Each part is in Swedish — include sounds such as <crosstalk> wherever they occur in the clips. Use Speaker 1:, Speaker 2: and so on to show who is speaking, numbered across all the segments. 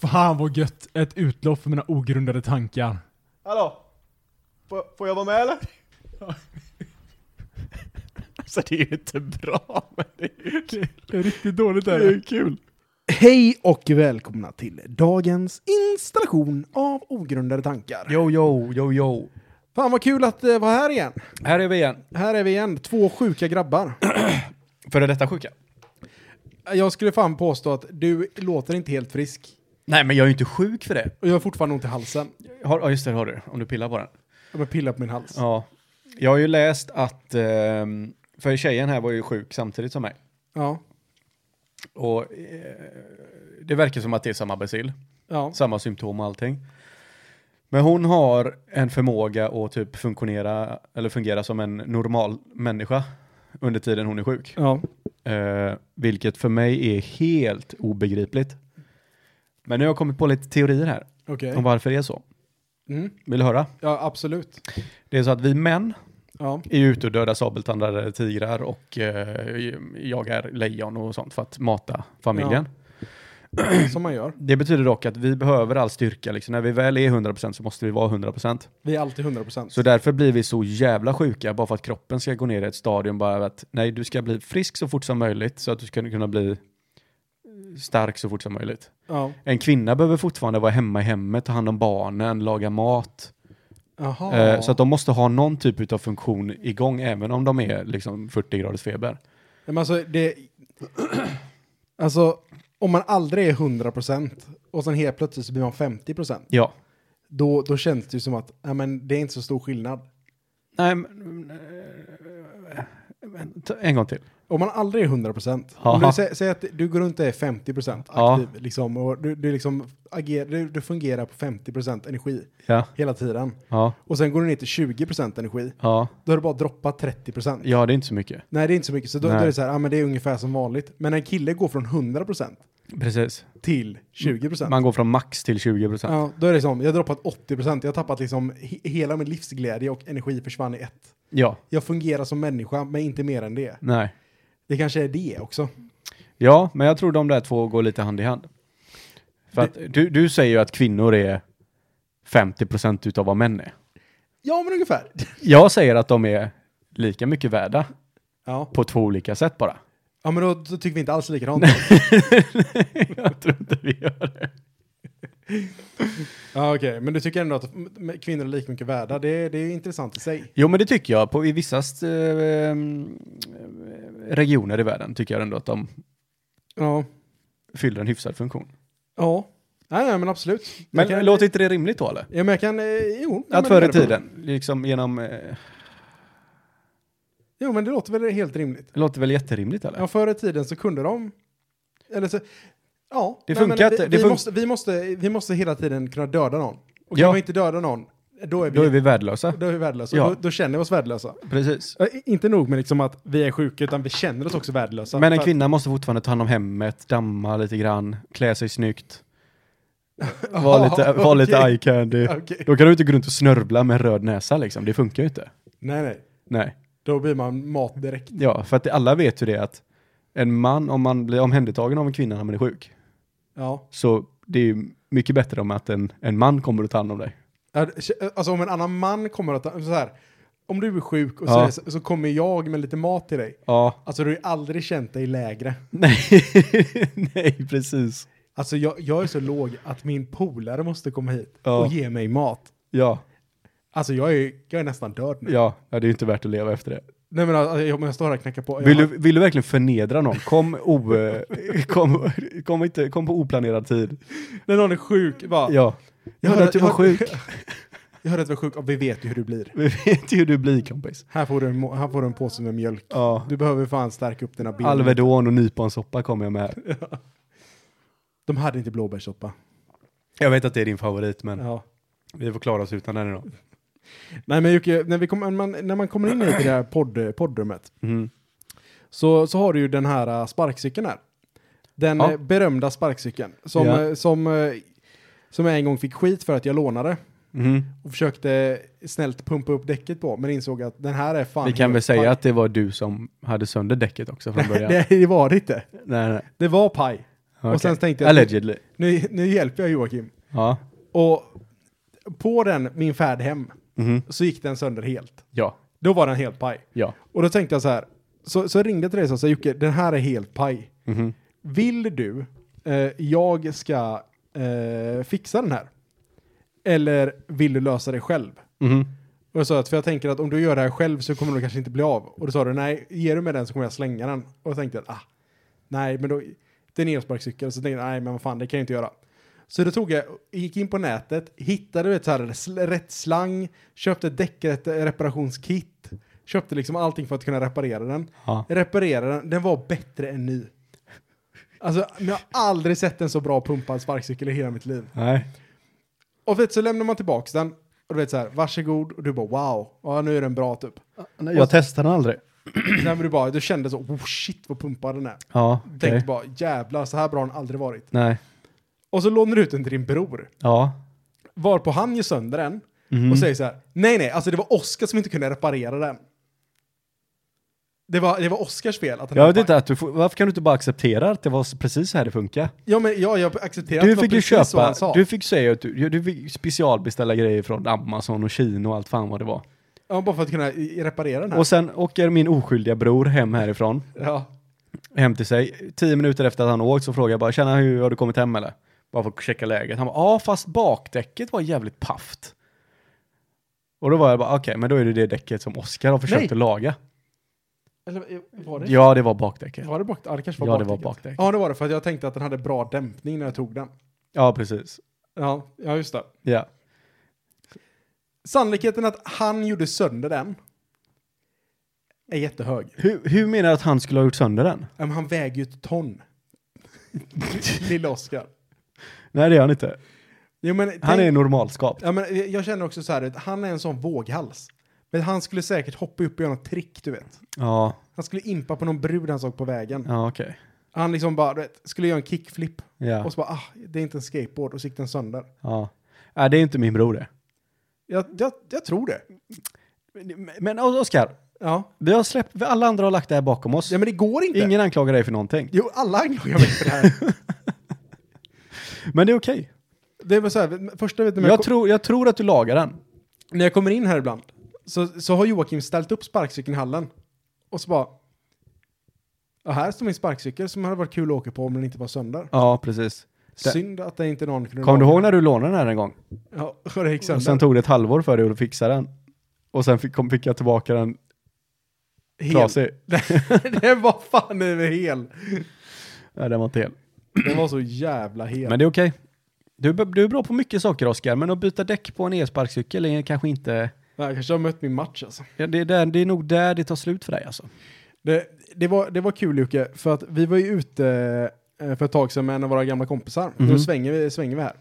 Speaker 1: Fan vad gött! Ett utlopp för mina ogrundade tankar.
Speaker 2: Hallå? Får, får jag vara med eller?
Speaker 3: <laughs> Alltså det är ju inte bra, men det är ju kul.
Speaker 1: Det är riktigt dåligt
Speaker 3: Det är ju kul.
Speaker 2: Hej och välkomna till dagens installation av ogrundade tankar.
Speaker 3: Yo, yo, yo, yo.
Speaker 2: Fan vad kul att eh, vara här igen.
Speaker 3: Här är vi igen.
Speaker 2: Här är vi igen, två sjuka grabbar.
Speaker 3: Före detta sjuka.
Speaker 2: <clears throat> Jag skulle fan påstå att du låter inte helt frisk.
Speaker 3: Nej, men jag är ju inte sjuk för det.
Speaker 2: Och jag har fortfarande ont i halsen.
Speaker 3: Har, ja, just det, har du. Om du pillar på den.
Speaker 2: Jag börjar pilla på min hals.
Speaker 3: Ja. Jag har ju läst att, ehm, för tjejen här var ju sjuk samtidigt som mig.
Speaker 2: Ja.
Speaker 3: Och eh, det verkar som att det är samma bacil.
Speaker 2: Ja.
Speaker 3: Samma symptom och allting. Men hon har en förmåga att typ funktionera, eller fungera som en normal människa under tiden hon är sjuk.
Speaker 2: Ja.
Speaker 3: Eh, vilket för mig är helt obegripligt. Men nu har jag kommit på lite teorier här
Speaker 2: Okej.
Speaker 3: om varför det är så.
Speaker 2: Mm.
Speaker 3: Vill du höra?
Speaker 2: Ja, absolut.
Speaker 3: Det är så att vi män
Speaker 2: Ja. <clears throat>
Speaker 3: är ute och dödar sabeltandade tigrar och eh, jagar lejon och sånt för att mata familjen.
Speaker 2: Som man gör.
Speaker 3: Det betyder dock att vi behöver all styrka. Liksom. När vi väl är 100% så måste vi vara 100%.
Speaker 2: Vi är alltid 100%.
Speaker 3: Så därför blir vi så jävla sjuka bara för att kroppen ska gå ner i ett stadium bara att nej, du ska bli frisk så fort som möjligt så att du ska kunna bli stark så fort som möjligt.
Speaker 2: Ja.
Speaker 3: En kvinna behöver fortfarande vara hemma i hemmet, ta hand om barnen, laga mat.
Speaker 2: Jaha.
Speaker 3: Eh, så att de måste ha någon typ av funktion igång även om de är liksom 40 graders feber.
Speaker 2: Men alltså, det... <clears throat> alltså, om man aldrig är 100% och sen helt plötsligt så blir man 50%,
Speaker 3: Ja.
Speaker 2: då, då känns det ju som att ja, men det är inte så stor skillnad.
Speaker 3: Nej, men, eh, men, ta- en gång till.
Speaker 2: Om man aldrig är 100%, om
Speaker 3: Jaha.
Speaker 2: du säger, säger att du går runt och är 50% aktiv,
Speaker 3: Ja.
Speaker 2: liksom, och du, du, liksom agerar, du, du fungerar på 50% energi
Speaker 3: Ja,
Speaker 2: hela tiden,
Speaker 3: ja,
Speaker 2: och sen går du ner till 20% energi,
Speaker 3: ja.
Speaker 2: då har du bara droppat 30%.
Speaker 3: Ja, det är inte så mycket.
Speaker 2: Nej, det är inte så mycket, så då, då
Speaker 3: Nej.
Speaker 2: är det så här, ja, men det är ungefär som vanligt. Men en kille går från 100%
Speaker 3: Precis.
Speaker 2: till 20%.
Speaker 3: Man går från max till 20 procent.
Speaker 2: Ja, då är det som, jag har droppat 80%, jag har tappat liksom he- hela min livsglädje och energi försvann i ett.
Speaker 3: Ja,
Speaker 2: Jag fungerar som människa, men inte mer än det.
Speaker 3: nej.
Speaker 2: Det kanske är det också.
Speaker 3: Ja, men jag tror de där två går lite hand i hand. För att du, du säger ju att kvinnor är 50 procent utav vad män är.
Speaker 2: Ja, men ungefär. <laughs>
Speaker 3: Jag säger att de är lika mycket värda
Speaker 2: Ja,
Speaker 3: på två olika sätt bara.
Speaker 2: ja men då, då tycker vi inte alls likadant.
Speaker 3: jag tror inte vi gör det.
Speaker 2: <laughs> ja, okej, men du tycker ändå att m- m- kvinnor är lika mycket värda. Det, det är intressant i sig.
Speaker 3: Jo, men det tycker jag. På, I vissa eh, regioner i världen tycker jag ändå att de
Speaker 2: Ja.
Speaker 3: fyller en hyfsad funktion.
Speaker 2: Ja. Nej, nej men absolut. Jag
Speaker 3: Men
Speaker 2: kan,
Speaker 3: låter inte det rimligt då, eller?
Speaker 2: Ja, men jag kan... eh, Jo. nej,
Speaker 3: Att
Speaker 2: men
Speaker 3: förr i
Speaker 2: det-
Speaker 3: tiden, liksom genom... Eh,
Speaker 2: Jo, men det låter väl helt rimligt.
Speaker 3: det låter väl jätterimligt, eller?
Speaker 2: Ja, förr i tiden så kunde de... Eller så... Ja.
Speaker 3: Det
Speaker 2: nej,
Speaker 3: funkar
Speaker 2: men
Speaker 3: inte,
Speaker 2: Vi,
Speaker 3: det
Speaker 2: vi,
Speaker 3: fun-
Speaker 2: måste, vi, måste, vi måste hela tiden kunna döda någon. Och
Speaker 3: Ja.
Speaker 2: kan vi inte döda någon, då är vi,
Speaker 3: Då är vi värdelösa.
Speaker 2: då är vi värdelösa.
Speaker 3: Ja.
Speaker 2: Då, då känner vi oss värdelösa.
Speaker 3: Precis.
Speaker 2: Ja, i- Inte nog med liksom att vi är sjuka, utan vi känner oss också värdelösa.
Speaker 3: Men en
Speaker 2: För-
Speaker 3: kvinna måste fortfarande ta hand om hemmet, damma lite grann, klä sig snyggt. Var lite, var
Speaker 2: <laughs>
Speaker 3: lite
Speaker 2: Okej.
Speaker 3: eye candy.
Speaker 2: Okej.
Speaker 3: Då kan du inte gå runt och snörvla med en röd näsa liksom. Det funkar ju inte.
Speaker 2: Nej, nej.
Speaker 3: Nej.
Speaker 2: Då blir man mat direkt.
Speaker 3: Ja, för att det- alla vet ju det att en man, om man blir omhändertagen av en kvinna när man är sjuk,
Speaker 2: Ja.
Speaker 3: så det är ju mycket bättre om att en, en man kommer och tar hand om dig.
Speaker 2: Ja, det- Alltså om en annan man kommer att ta, så här, om du är sjuk och
Speaker 3: Ja.
Speaker 2: så, så kommer jag med lite mat till dig.
Speaker 3: Ja.
Speaker 2: Alltså du har ju aldrig känt dig lägre.
Speaker 3: <laughs> Nej, <laughs> nej precis.
Speaker 2: Alltså jag, jag är så låg att min polare måste komma hit
Speaker 3: Ja.
Speaker 2: och ge mig mat.
Speaker 3: Ja,
Speaker 2: Alltså jag är, jag är nästan död nu.
Speaker 3: ja, ja, det är ju inte värt att leva efter det.
Speaker 2: Nej men alltså, jag, men jag står här och knackar på. Jag
Speaker 3: Vill
Speaker 2: har-
Speaker 3: du, vill du verkligen förnedra någon? Kom, o, <laughs> eh, kom, kom, inte, kom på oplanerad tid.
Speaker 2: När någon är sjuk, bara.
Speaker 3: Ja. Jag hörde att du typ var sjuk. <laughs>
Speaker 2: Jag hörde att du var sjuk och vi vet ju hur du blir.
Speaker 3: Vi vet ju hur du blir kompis.
Speaker 2: Här får du en, må- här får du en påse med mjölk.
Speaker 3: Ja.
Speaker 2: Du behöver fan stärka upp dina ben.
Speaker 3: Alvedon och nyponsoppa kommer jag med här.
Speaker 2: De hade inte blåbärssoppa.
Speaker 3: Jag vet att det är din favorit, men
Speaker 2: Ja.
Speaker 3: vi får klara oss utan den idag.
Speaker 2: Nej men Jocke, när, vi kom, man, när man kommer in hit i det här podd, poddrummet
Speaker 3: Mm-hmm.
Speaker 2: så, så har du ju den här eh, sparkcykeln här. Den
Speaker 3: Ja.
Speaker 2: eh, berömda sparkcykeln som,
Speaker 3: Ja.
Speaker 2: eh, som, eh, som jag en gång fick skit för att jag lånade
Speaker 3: Mhm.
Speaker 2: och försökte snällt pumpa upp däcket på men insåg att den här är fan...
Speaker 3: Vi kan väl
Speaker 2: helt
Speaker 3: säga
Speaker 2: paj. <laughs>
Speaker 3: att det var du som hade sönder däcket också från början?
Speaker 2: Nej, det var det inte.
Speaker 3: nej, nej.
Speaker 2: Det var paj.
Speaker 3: Okej.
Speaker 2: sen tänkte jag-
Speaker 3: Allegedly.
Speaker 2: Nu, nu hjälper jag Joakim.
Speaker 3: Ja.
Speaker 2: Och på den, min färd hem,
Speaker 3: Mhm.
Speaker 2: så gick den sönder helt.
Speaker 3: Ja.
Speaker 2: Då var den helt paj.
Speaker 3: Ja. och
Speaker 2: Och då tänkte jag så här, så, så ringde jag till dig och sa Jocke, den här är helt paj.
Speaker 3: Mm-hmm.
Speaker 2: Vill du, eh, jag ska eh, fixa den här? Eller vill du lösa det själv?
Speaker 3: Mm-hmm.
Speaker 2: Och jag sa att, för jag tänker att om du gör det här själv så kommer du kanske inte bli av. Och då sa du, nej, ger du mig den så kommer jag slänga den. Och jag tänkte att, ah, nej, men då, det är en elsparkcykel. Så tänkte jag, nej, men vad fan, det kan jag inte göra. Så då tog jag, gick in på nätet, hittade vet, så här, sl- rätt slang, köpte däckreparationskit, köpte liksom allting för att kunna reparera den.
Speaker 3: Ja.
Speaker 2: Reparerade den, den var bättre än ny. Alltså, men jag har aldrig sett en så bra pumpad sparkcykel i hela mitt liv.
Speaker 3: Nej.
Speaker 2: Och vet, så lämnar man tillbaks den. Och du vet så här, varsågod. Och du bara wow, ja, nu är den bra typ. <clears throat>
Speaker 3: Jag testade den aldrig.
Speaker 2: Nej, men du, bara, du kände så, oh shit vad pumpad den är.
Speaker 3: Ja.
Speaker 2: Du
Speaker 3: okej.
Speaker 2: tänkte bara, jävlar så här bra har den aldrig varit.
Speaker 3: Nej.
Speaker 2: Och så lånar du ut den till din bror.
Speaker 3: Ja.
Speaker 2: Varpå han gör sönder den.
Speaker 3: Mhm.
Speaker 2: Och säger så här, nej nej, alltså det var Oskar som inte kunde reparera den. Det var, det var Oskars fel att den
Speaker 3: Jag
Speaker 2: här
Speaker 3: vet inte
Speaker 2: pack-
Speaker 3: att du får, varför kan du inte bara acceptera att det var så- precis så här det funkar?
Speaker 2: Ja men ja, jag accepterar att det
Speaker 3: Du
Speaker 2: var
Speaker 3: fick ju
Speaker 2: precis så
Speaker 3: köpa,
Speaker 2: han sa.
Speaker 3: du fick säga att du, du fick specialbeställa grejer från Amazon och Kina och allt fan vad det var.
Speaker 2: Ja, bara för att kunna i- reparera den här.
Speaker 3: Och sen åker min oskyldiga bror hem härifrån,
Speaker 2: ja.
Speaker 3: hem till sig. Tio minuter efter att han åkt så frågar jag bara, tjena hur har du kommit hem eller? Bara för att checka läget. Han bara, ja fast bakdäcket var jävligt paft. Och då var jag bara, okej men då är det det däcket som Oskar har försökt
Speaker 2: Nej.
Speaker 3: att laga.
Speaker 2: Eller eh, var det?
Speaker 3: Ja det var bakdäcket.
Speaker 2: Var det bak? Ja, det kanske var
Speaker 3: Ja det var
Speaker 2: bakdäcket.
Speaker 3: bakdäck.
Speaker 2: Ja, det var det. För att jag tänkte att den hade bra dämpning när jag tog den.
Speaker 3: Ja precis.
Speaker 2: Ja, ja just det.
Speaker 3: Ja.
Speaker 2: Sannolikheten att han gjorde sönder den är jättehög.
Speaker 3: Hur, hur menar du att han skulle ha gjort sönder den?
Speaker 2: Ja, Men han väger ju ett ton. <laughs> Lilla Oskar.
Speaker 3: Nej det gör han inte.
Speaker 2: Jo, men
Speaker 3: Han
Speaker 2: tänk-
Speaker 3: är normalskap.
Speaker 2: ja, men jag- jag känner också så här, att han är en sån våghals. Men han skulle säkert hoppa upp och göra något trick, du vet.
Speaker 3: Ja,
Speaker 2: Han skulle impa på någon brud han såg på vägen.
Speaker 3: ja okej.
Speaker 2: Han liksom bara, du vet, skulle göra en kickflip.
Speaker 3: Ja.
Speaker 2: Och så bara, ah, det är inte en skateboard. Och så gick den sönder.
Speaker 3: ja. Nej, det är inte min bror det.
Speaker 2: Jag, jag, jag tror det.
Speaker 3: Men, men Oskar,
Speaker 2: Ja.
Speaker 3: vi har släppt, vi- alla andra har lagt det här bakom oss.
Speaker 2: ja, men det går inte.
Speaker 3: Ingen anklagar dig för någonting.
Speaker 2: Jo, alla anklagar mig för det <laughs> här.
Speaker 3: Men det är okej.
Speaker 2: Det var så här, första vet du, när jag
Speaker 3: Jag, tror, jag tror att du lagar den.
Speaker 2: när jag kommer in här ibland så, så har Joakim ställt upp sparkcykeln i hallen. Och så bara... Ja, här står min sparkcykel som hade varit kul att åka på om den inte var sönder.
Speaker 3: Ja, precis. Det-
Speaker 2: Synd att det inte någon kunde...
Speaker 3: Kommer du ihåg när du lånade den här en gång?
Speaker 2: Ja, <laughs> och det gick sönder.
Speaker 3: Och sen tog det ett halvår för dig att fixa den. Och sen fick, kom, fick jag tillbaka den
Speaker 2: Hel.
Speaker 3: trasig.
Speaker 2: <laughs> det var fan över hel.
Speaker 3: Nej, den var inte hel.
Speaker 2: Den var så jävla hel.
Speaker 3: Men det är okej. Du, är b- du är bra på mycket saker, Oskar, men att byta däck på en elsparkcykel är kanske inte...
Speaker 2: Jag kanske har mött min match alltså.
Speaker 3: Ja, det, är där, det är nog där det tar slut för dig alltså.
Speaker 2: Det, det, var, det var kul Jocke, för att vi var ju ute eh, för ett tag sedan med en av våra gamla kompisar.
Speaker 3: Mhm.
Speaker 2: Nu svänger vi, svänger vi här.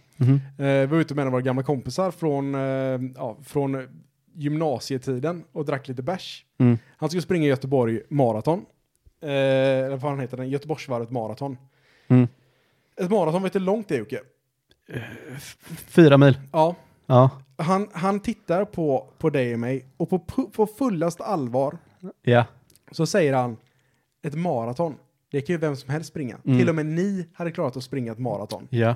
Speaker 2: Eh, vi var ute med en av våra gamla kompisar från, eh, ja, från gymnasietiden och drack lite bärs.
Speaker 3: Mm.
Speaker 2: Han skulle springa Göteborg maraton. Eh, eller vad han heter den? Göteborgsvarvet maraton.
Speaker 3: Mm.
Speaker 2: Ett maraton, vet du hur långt det är Jocke?
Speaker 3: Eh, Fyra mil.
Speaker 2: Ja.
Speaker 3: Ja.
Speaker 2: Han, han tittar på, på dig och mig och på, pu- på fullast allvar
Speaker 3: Ja.
Speaker 2: så säger han ett maraton. Det kan ju vem som helst springa.
Speaker 3: Mm.
Speaker 2: Till och med ni hade klarat att springa ett maraton.
Speaker 3: Ja.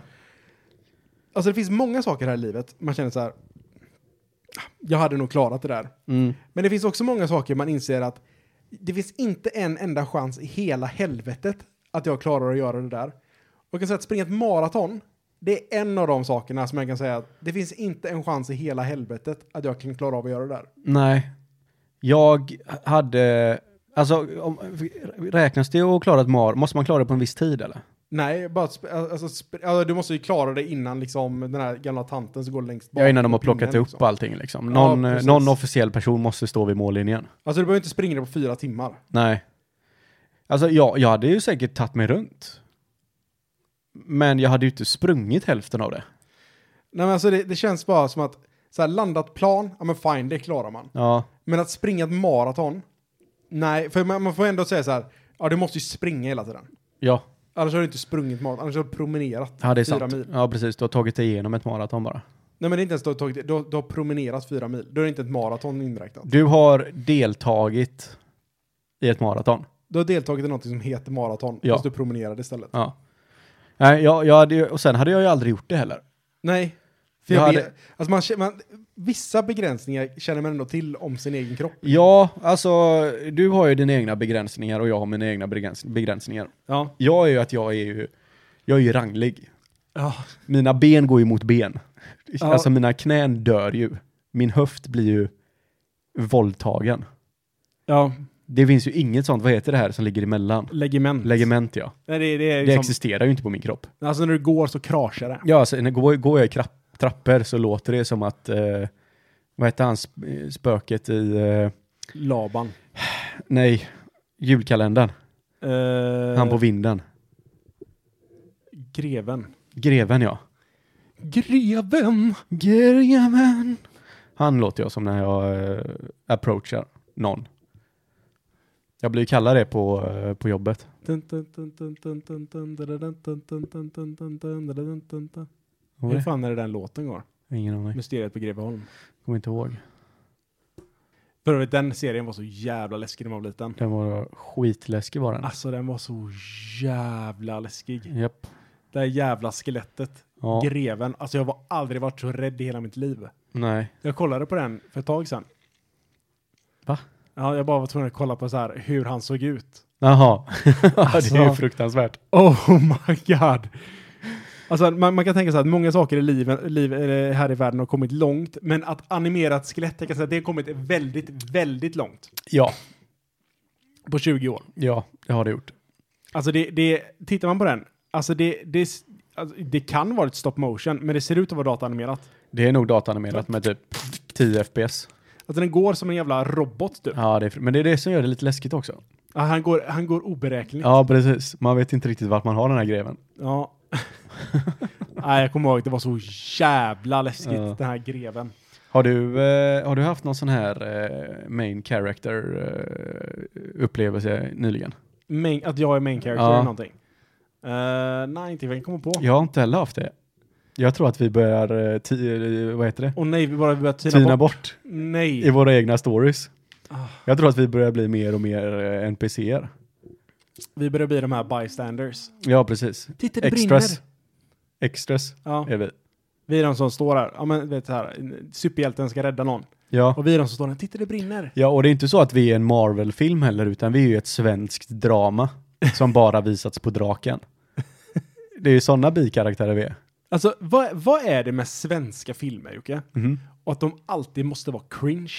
Speaker 2: Alltså det finns många saker här i livet man känner så här. "Ah, Jag hade nog klarat det där.
Speaker 3: Mm.
Speaker 2: Men det finns också många saker man inser att det finns inte en enda chans i hela helvetet att jag klarar att göra det där. Och jag kan säga att springa ett maraton, det är en av de sakerna som jag kan säga att det finns inte en chans i hela helvetet att jag kan klara av att göra det där.
Speaker 3: Nej. Jag hade... Alltså, om, räknas det att klara ett mar? Måste man klara det på en viss tid eller?
Speaker 2: Nej, bara att sp- alltså, sp- alltså, du måste ju klara det innan liksom, den här gamla tanten som går längst bak.
Speaker 3: Ja, innan de har
Speaker 2: på pinnen,
Speaker 3: plockat ihop
Speaker 2: Liksom.
Speaker 3: allting liksom. Någon,
Speaker 2: Ja, precis.
Speaker 3: någon officiell person måste stå vid mållinjen.
Speaker 2: Alltså du behöver inte springa det på fyra timmar.
Speaker 3: Nej. Alltså, jag, jag hade ju säkert tagit mig runt. Men jag hade ju inte sprungit hälften av det.
Speaker 2: Nej men alltså det, det känns bara som att så här, landat plan, ja men fine, det klarar man.
Speaker 3: Ja.
Speaker 2: Men att springa ett maraton, nej, för man, man får ändå säga så här, ja du måste ju springa hela tiden.
Speaker 3: Ja.
Speaker 2: Annars har du inte sprungit maraton, annars har du promenerat
Speaker 3: Ja, det är
Speaker 2: fyra
Speaker 3: sant.
Speaker 2: mil.
Speaker 3: Ja, precis. Du har tagit dig igenom ett maraton bara.
Speaker 2: Nej men det är inte ens du har tagit, du, har- du har promenerat fyra mil, då är det inte ett maraton inräknat.
Speaker 3: Du har deltagit i ett maraton.
Speaker 2: Du har deltagit i något som heter maraton,
Speaker 3: Ja.
Speaker 2: fast du promenerade istället.
Speaker 3: Ja. Nej, jag, jag hade, ju- och sen hade jag ju aldrig gjort det heller.
Speaker 2: Nej. För
Speaker 3: Jag
Speaker 2: jag
Speaker 3: hade-
Speaker 2: vet, alltså man, kä- man, vissa begränsningar känner man ändå till om sin egen kropp.
Speaker 3: Ja, alltså du har ju dina egna begränsningar och jag har mina egna begräns- begränsningar.
Speaker 2: Ja.
Speaker 3: Jag är ju att jag är ju, jag är ju ranglig.
Speaker 2: Ja.
Speaker 3: Mina ben går ju mot ben.
Speaker 2: Ja.
Speaker 3: Alltså mina knän dör ju. Min höft blir ju våldtagen.
Speaker 2: ja.
Speaker 3: Det finns ju inget sånt, vad heter det här som ligger emellan?
Speaker 2: Legiment.
Speaker 3: Lägement ja.
Speaker 2: Nej, det, det är
Speaker 3: Det
Speaker 2: som,
Speaker 3: existerar ju inte på min kropp.
Speaker 2: alltså när du går så kraschar det.
Speaker 3: Ja, alltså när jag går, går jag i krapp, trappor så låter det som att, eh, vad heter han, sp- spöket i, eh,
Speaker 2: Laban.
Speaker 3: nej, julkalendern.
Speaker 2: Eh,
Speaker 3: Han på vinden.
Speaker 2: Greven.
Speaker 3: Greven ja.
Speaker 2: Greven!
Speaker 3: Greven. Han låter jag som när jag eh, approachar någon. Jag blir ju kallad det på, eh, på jobbet.
Speaker 2: Hur
Speaker 3: Vad var det?
Speaker 2: fan är det den låten går?
Speaker 3: Ingen aning.
Speaker 2: Mysteriet på Greveholm.
Speaker 3: Kommer inte ihåg.
Speaker 2: För övrigt, den serien var så jävla läskig när man var liten.
Speaker 3: Den var skitläskig var den.
Speaker 2: Alltså den var så jävla läskig.
Speaker 3: Japp.
Speaker 2: Det här jävla skelettet.
Speaker 3: Ja.
Speaker 2: Greven. Alltså jag har aldrig varit så rädd i hela mitt liv.
Speaker 3: Nej.
Speaker 2: Jag kollade på den för ett tag sedan.
Speaker 3: Va?
Speaker 2: Ja, jag bara var tvungen att kolla på så här hur han såg ut.
Speaker 3: Jaha. <laughs> det är ju
Speaker 2: Alltså.
Speaker 3: fruktansvärt.
Speaker 2: Oh my god! Alltså man, man kan tänka så här att många saker i liv, liv, eller här i världen har kommit långt, men att animerat skelett, jag kan säga att det har kommit väldigt, väldigt långt
Speaker 3: Ja,
Speaker 2: på 20 år.
Speaker 3: ja, det har det gjort.
Speaker 2: Alltså det, det tittar man på den, alltså det, det, alltså det kan vara ett stop motion, men det ser ut att vara dataanimerat.
Speaker 3: Det är nog dataanimerat med typ 10 FPS.
Speaker 2: Alltså den går som en jävla robot typ.
Speaker 3: Ja, det är, fr- men det är det som gör det lite läskigt också.
Speaker 2: Ja, Han går, han går oberäkneligt.
Speaker 3: Ja, precis. Man vet inte riktigt vart man har den här greven.
Speaker 2: Ja. <laughs> Nej, jag kommer ihåg, det var så jävla läskigt,
Speaker 3: Ja.
Speaker 2: den här greven.
Speaker 3: Har du, eh, har du haft någon sån här eh, main character eh, upplevelse nyligen?
Speaker 2: Main, att jag är main character
Speaker 3: Ja.
Speaker 2: eller någonting. Eh, nej, inte vad jag kommer på.
Speaker 3: Jag har inte heller haft det. Jag tror att vi börjar, eh, ti- eh, vad heter det?
Speaker 2: Och nej, vi bara börjar tina,
Speaker 3: Tina
Speaker 2: bort.
Speaker 3: bort i
Speaker 2: Nej.
Speaker 3: våra egna stories.
Speaker 2: Ah.
Speaker 3: Jag tror att vi börjar bli mer och mer eh, NPCer.
Speaker 2: Vi börjar bli de här bystanders.
Speaker 3: Ja, precis.
Speaker 2: Titta, det
Speaker 3: Extras.
Speaker 2: brinner!
Speaker 3: Extras
Speaker 2: Ja,
Speaker 3: är vi.
Speaker 2: vi är de som står här. Ja, men vet så här, superhjälten ska rädda någon.
Speaker 3: Ja.
Speaker 2: Och vi är de som står där. Titta, det brinner!
Speaker 3: Ja, och det är inte så att vi är en Marvel-film heller, utan vi är ju ett svenskt drama som bara visats på <laughs> draken. Det är ju sådana bikaraktärer vi är.
Speaker 2: Alltså, vad, vad är det med svenska filmer, Jocke?
Speaker 3: Mhm.
Speaker 2: Och att de alltid måste vara cringe?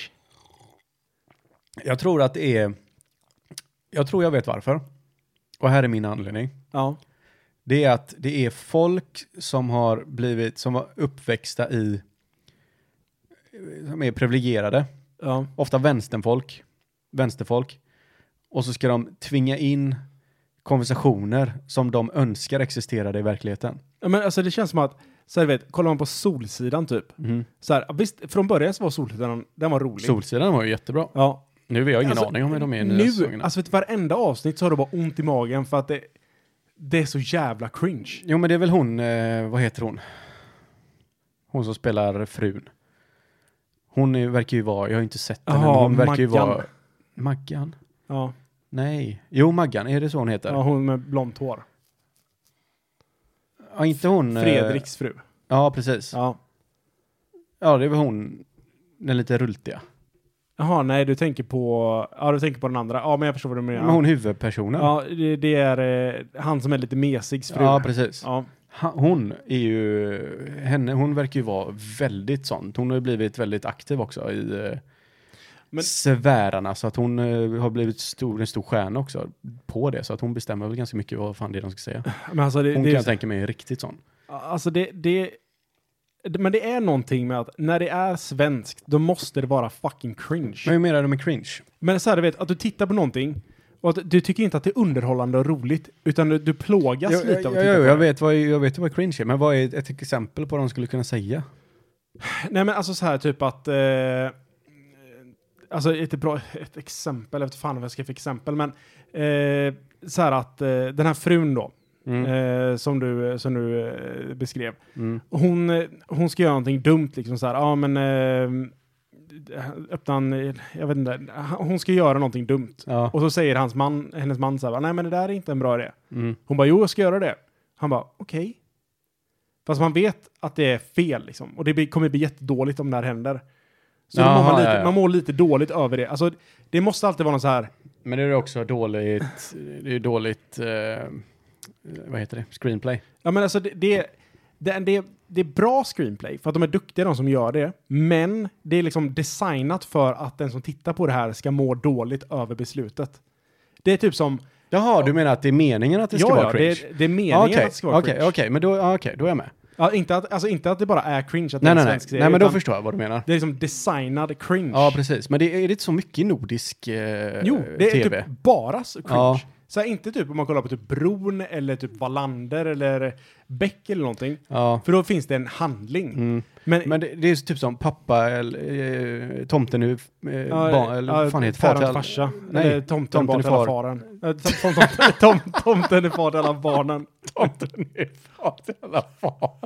Speaker 3: Jag tror att det är... Jag tror jag vet varför. Och här är min anledning.
Speaker 2: Ja.
Speaker 3: Det är att det är folk som har blivit, som var uppväxta i, som är privilegierade.
Speaker 2: Ja.
Speaker 3: ofta vänsterfolk, vänsterfolk, och så ska de tvinga in konversationer som de önskar existerade i verkligheten.
Speaker 2: Ja, men alltså det känns som att, så här, du vet, kollar man på Solsidan typ.
Speaker 3: Mhm.
Speaker 2: Så här, visst, från början så var Solsidan, den var rolig.
Speaker 3: Solsidan var ju jättebra.
Speaker 2: Ja.
Speaker 3: Nu har jag ingen
Speaker 2: Alltså,
Speaker 3: aning om hur de är i nya
Speaker 2: Nu,
Speaker 3: säsongerna.
Speaker 2: alltså vet, du, varenda avsnitt så har du bara ont i magen för att det, det är så jävla cringe.
Speaker 3: Jo, men det är väl hon, eh, vad heter hon? Hon som spelar frun. Hon är, verkar ju vara, jag har ju inte sett henne,
Speaker 2: Jaha,
Speaker 3: men hon verkar ju
Speaker 2: Maggan.
Speaker 3: vara... Maggan?
Speaker 2: Ja,
Speaker 3: Nej. Jo, Maggan, är det så hon heter?
Speaker 2: ja
Speaker 3: Ja,
Speaker 2: hon med blont hår.
Speaker 3: inte hon... eh,
Speaker 2: Fredriks fru.
Speaker 3: Ja, precis. Ja.
Speaker 2: Ja.
Speaker 3: ja, det är väl hon, den lite rultiga.
Speaker 2: Jaha, nej du tänker på, ja du tänker på den andra. Ja men jag förstår vad du menar.
Speaker 3: Men hon huvudpersonen.
Speaker 2: ja, det, det är eh, han som är lite mesigs fru.
Speaker 3: Ja, precis.
Speaker 2: Ja.
Speaker 3: Ha- Hon är ju, henne, hon verkar ju vara väldigt sånt. Hon har ju blivit väldigt aktiv också i eh,
Speaker 2: Men-
Speaker 3: sfärerna, så att hon eh, har blivit stor, en stor stjärna också på det, så att hon bestämmer väl ganska mycket vad fan det är de ska säga.
Speaker 2: Men alltså det,
Speaker 3: Hon
Speaker 2: det,
Speaker 3: kan
Speaker 2: är,
Speaker 3: jag tänka mig är riktigt sån.
Speaker 2: alltså det, det, det, men det är någonting med att när det är svenskt, då måste det vara fucking cringe.
Speaker 3: Men hur menar du med cringe?
Speaker 2: Men så här, du vet, att du tittar på någonting och att du tycker inte att det är underhållande och roligt, utan du, du plågas
Speaker 3: Jag,
Speaker 2: lite
Speaker 3: jag,
Speaker 2: av
Speaker 3: jag,
Speaker 2: att titta på
Speaker 3: jag,
Speaker 2: det.
Speaker 3: vet vad, jag vet vad cringe är, men vad är ett exempel på vad de skulle kunna säga?
Speaker 2: Nej men alltså så här typ att... Eh, alltså ett, bra, ett exempel, jag vet fan vad jag ska få exempel, men eh, så här att eh, den här frun då, eh, som du, som du eh, beskrev,
Speaker 3: Mm.
Speaker 2: hon, eh, hon ska göra någonting dumt liksom så här, ja ah, men eh, öppna en, jag vet inte, hon ska göra någonting dumt.
Speaker 3: Ja.
Speaker 2: Och så säger hans man, hennes man så här, nej men det där är inte en bra idé.
Speaker 3: Mm.
Speaker 2: Hon bara, jo jag ska göra det. Han bara, okej. Fast man vet att det är fel liksom. Och det blir, kommer bli jättedåligt om det här händer. Så då mår
Speaker 3: Jaha,
Speaker 2: man, lite,
Speaker 3: ja, ja.
Speaker 2: man mår lite dåligt över det. Alltså, det måste alltid vara någon så här,
Speaker 3: Men det är också dåligt, det är dåligt, eh, vad heter det, screenplay.
Speaker 2: Ja, men alltså det, det, det, det, det är bra screenplay för att de är duktiga de som gör det. Men det är liksom designat för att den som tittar på det här ska må dåligt över beslutet. Det är typ som...
Speaker 3: Jaha, du menar att det är meningen att det ska
Speaker 2: ja,
Speaker 3: vara
Speaker 2: ja,
Speaker 3: cringe?
Speaker 2: det, är- det är meningen
Speaker 3: Ja,
Speaker 2: att det ska vara
Speaker 3: okej,
Speaker 2: cringe.
Speaker 3: okej, men då, ja, okej, då är jag med.
Speaker 2: Ja, inte, att, alltså, inte att det bara är cringe, att det
Speaker 3: Nej,
Speaker 2: är
Speaker 3: nej,
Speaker 2: en
Speaker 3: nej.
Speaker 2: svensk serie.
Speaker 3: nej, men då
Speaker 2: utan
Speaker 3: förstår jag vad du menar.
Speaker 2: Det är liksom designad cringe.
Speaker 3: Ja, precis. Men det är det inte så mycket i nordisk eh,
Speaker 2: jo, det är
Speaker 3: tv?
Speaker 2: typ bara s- cringe.
Speaker 3: Ja.
Speaker 2: Så här, inte typ om man kollar på typ Bron eller typ Wallander eller Beck eller någonting.
Speaker 3: Ja.
Speaker 2: För då finns det en handling.
Speaker 3: Mm.
Speaker 2: Men
Speaker 3: Men det, det är ju typ som pappa eller eh, tomten nu, eh,
Speaker 2: Ja,
Speaker 3: barn, eller vad fan heter far
Speaker 2: faran
Speaker 3: till
Speaker 2: till
Speaker 3: alla-
Speaker 2: farsa.
Speaker 3: Nej,
Speaker 2: Eller tomten,
Speaker 3: tomten
Speaker 2: tomten
Speaker 3: är
Speaker 2: är far.
Speaker 3: far.
Speaker 2: Faren. Eh, tom- tom- tom- tom- Tomten <laughs> är far till alla barnen.
Speaker 3: Tomten är far till alla far.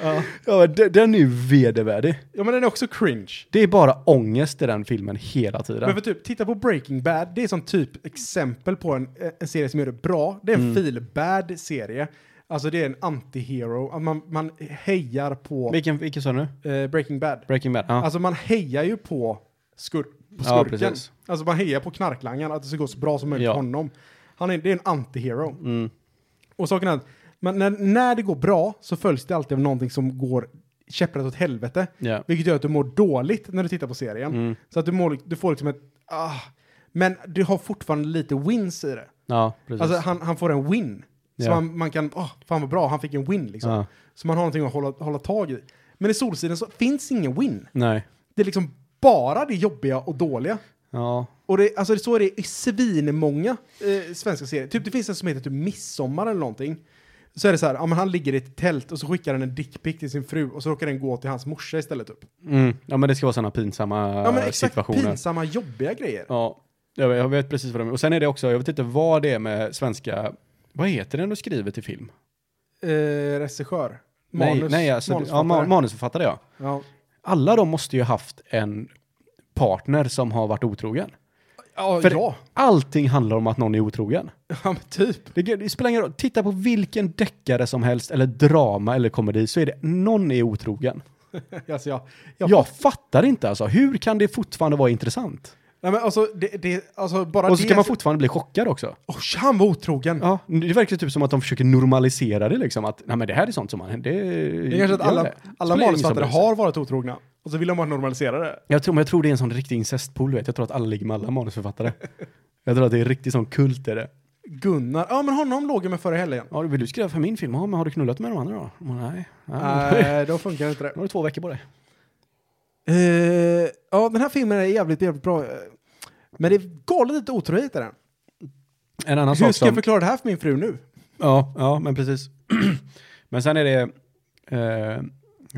Speaker 3: ja, men den, den är ju vedervärdig.
Speaker 2: Ja men den är också cringe.
Speaker 3: Det är bara ångest i den filmen hela
Speaker 2: Men
Speaker 3: tiden.
Speaker 2: för typ, titta på Breaking Bad, det är som typ exempel på en, eh, en serie som gör det bra. Det är
Speaker 3: Mm.
Speaker 2: en feel-bad serie. Alltså det är en anti-hero. Att Man, man hejar på
Speaker 3: Vilken, vilken sa du nu?
Speaker 2: eh, Breaking Bad.
Speaker 3: Breaking Bad? Ja.
Speaker 2: Alltså man hejar ju på, skur på
Speaker 3: Ja,
Speaker 2: skurken.
Speaker 3: precis.
Speaker 2: alltså man hejar på knarklangaren, att det ska gå så bra som möjligt
Speaker 3: Ja. Mm.
Speaker 2: för honom. Han är, det är en antihero. Och saken är att men när, när det går bra så följs det alltid av någonting som går käpprätt åt helvete.
Speaker 3: Ja. Mm.
Speaker 2: Vilket gör att du mår dåligt när du tittar på serien. Så att du, mår, du får liksom ett... Ah, men du har fortfarande lite wins i det.
Speaker 3: ja, precis.
Speaker 2: Alltså han, han får en win. Så
Speaker 3: Ja.
Speaker 2: man, man kan, åh, fan vad bra, han fick en win liksom.
Speaker 3: Ja.
Speaker 2: Så man har någonting att hålla, hålla tag i. Men i Solsidan så finns ingen win.
Speaker 3: Nej.
Speaker 2: Det är liksom bara det jobbiga och dåliga.
Speaker 3: Ja.
Speaker 2: Och det, alltså det, så är det i svinmånga eh, svenska serier. Typ det finns en som heter typ Midsommar eller någonting. Så är det så här, ja, men han ligger i ett tält och så skickar han en dickpic till sin fru och så råkar den gå till hans morsa istället. Typ.
Speaker 3: Mm. ja, men det ska vara sådana pinsamma
Speaker 2: Ja men exakt,
Speaker 3: situationer.
Speaker 2: pinsamma, jobbiga grejer.
Speaker 3: Ja, jag vet, jag vet precis vad de Och sen är det också, jag vet inte vad det är med svenska, vad heter den du skriver till film?
Speaker 2: Eh, regissör. Manus.
Speaker 3: nej, nej alltså, manusförfattare. Ja,
Speaker 2: manusförfattare.
Speaker 3: ma- manusförfattare ja.
Speaker 2: ja.
Speaker 3: Alla de måste ju haft en partner som har varit otrogen.
Speaker 2: Ja,
Speaker 3: För
Speaker 2: ja.
Speaker 3: allting handlar om att någon är otrogen.
Speaker 2: ja, men typ.
Speaker 3: Det, det spelar ingen roll, titta på vilken deckare som helst eller drama eller komedi så är det någon är otrogen.
Speaker 2: <laughs> Alltså, jag, jag,
Speaker 3: Jag, fattar inte alltså, hur kan det fortfarande vara intressant?
Speaker 2: Nej, men alltså, det, det, alltså bara
Speaker 3: Och så
Speaker 2: det-
Speaker 3: ska man fortfarande bli chockad också.
Speaker 2: Oj, han var otrogen.
Speaker 3: Ja, det verkar typ som att de försöker normalisera det liksom. Att nej, men det här är sånt som man... Det,
Speaker 2: Det är kanske att
Speaker 3: gör
Speaker 2: alla,
Speaker 3: det. Spelar
Speaker 2: alla
Speaker 3: ingen
Speaker 2: manusförfattare
Speaker 3: som bryr sig.
Speaker 2: har varit otrogna. Och så vill de bara normalisera det.
Speaker 3: Jag tror, men jag tror det är en sån riktig incestpool, du vet. Jag tror att alla ligger med
Speaker 2: <laughs>
Speaker 3: alla manusförfattare. jag tror att det är riktigt sån kult är det.
Speaker 2: Gunnar, ja men honom låg jag med förra helgen.
Speaker 3: Ja, vill du skriva för min film? Ja, men har du knullat med de andra då? Ja, nej. Ja,
Speaker 2: Nej, då funkar inte det.
Speaker 3: <laughs> Nu har du två veckor på dig.
Speaker 2: Eh, ja, den här filmen är jävligt, jävligt bra. eh, Men det är galet lite otrohet i den.
Speaker 3: En annan
Speaker 2: Hur
Speaker 3: sak
Speaker 2: ska jag
Speaker 3: som...
Speaker 2: förklara det här för min fru nu?
Speaker 3: Ja, ja, men precis. <clears throat> men sen är det... Eh, jag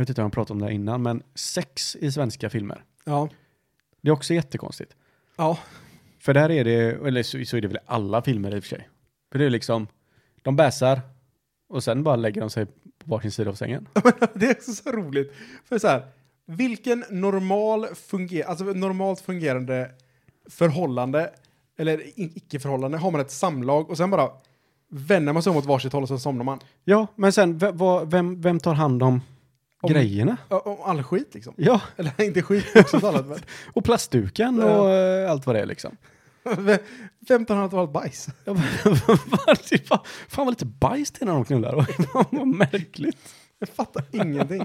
Speaker 3: vet inte om jag pratade om det här innan, men sex i svenska filmer.
Speaker 2: Ja.
Speaker 3: Det är också jättekonstigt.
Speaker 2: Ja.
Speaker 3: För där är det, eller så, så är det väl i alla filmer i och för sig. För det är liksom, de bäsar och sen bara lägger de sig på varsin sida av sängen.
Speaker 2: <laughs> Det är också så roligt. För så här, vilken normal funger- alltså normalt fungerande förhållande, eller i- icke-förhållande, har man ett samlag och sen bara vänder man sig om åt varsitt håll och så somnar man.
Speaker 3: Ja, men sen, v- vad- vem, vem tar hand om,
Speaker 2: Om-
Speaker 3: grejerna?
Speaker 2: Ja, Om all skit liksom. <laughs>
Speaker 3: Ja,
Speaker 2: Eller inte skit, också <laughs> talat, men
Speaker 3: och plastduken
Speaker 2: Ja.
Speaker 3: och eh, allt vad det är liksom.
Speaker 2: Vem- vem tar hand om allt bajs? <laughs>
Speaker 3: <laughs> Jag bara, var- det fan, fan vad lite bajs det är när de knullar. Fan, <laughs> vad märkligt.
Speaker 2: Jag fattar ingenting.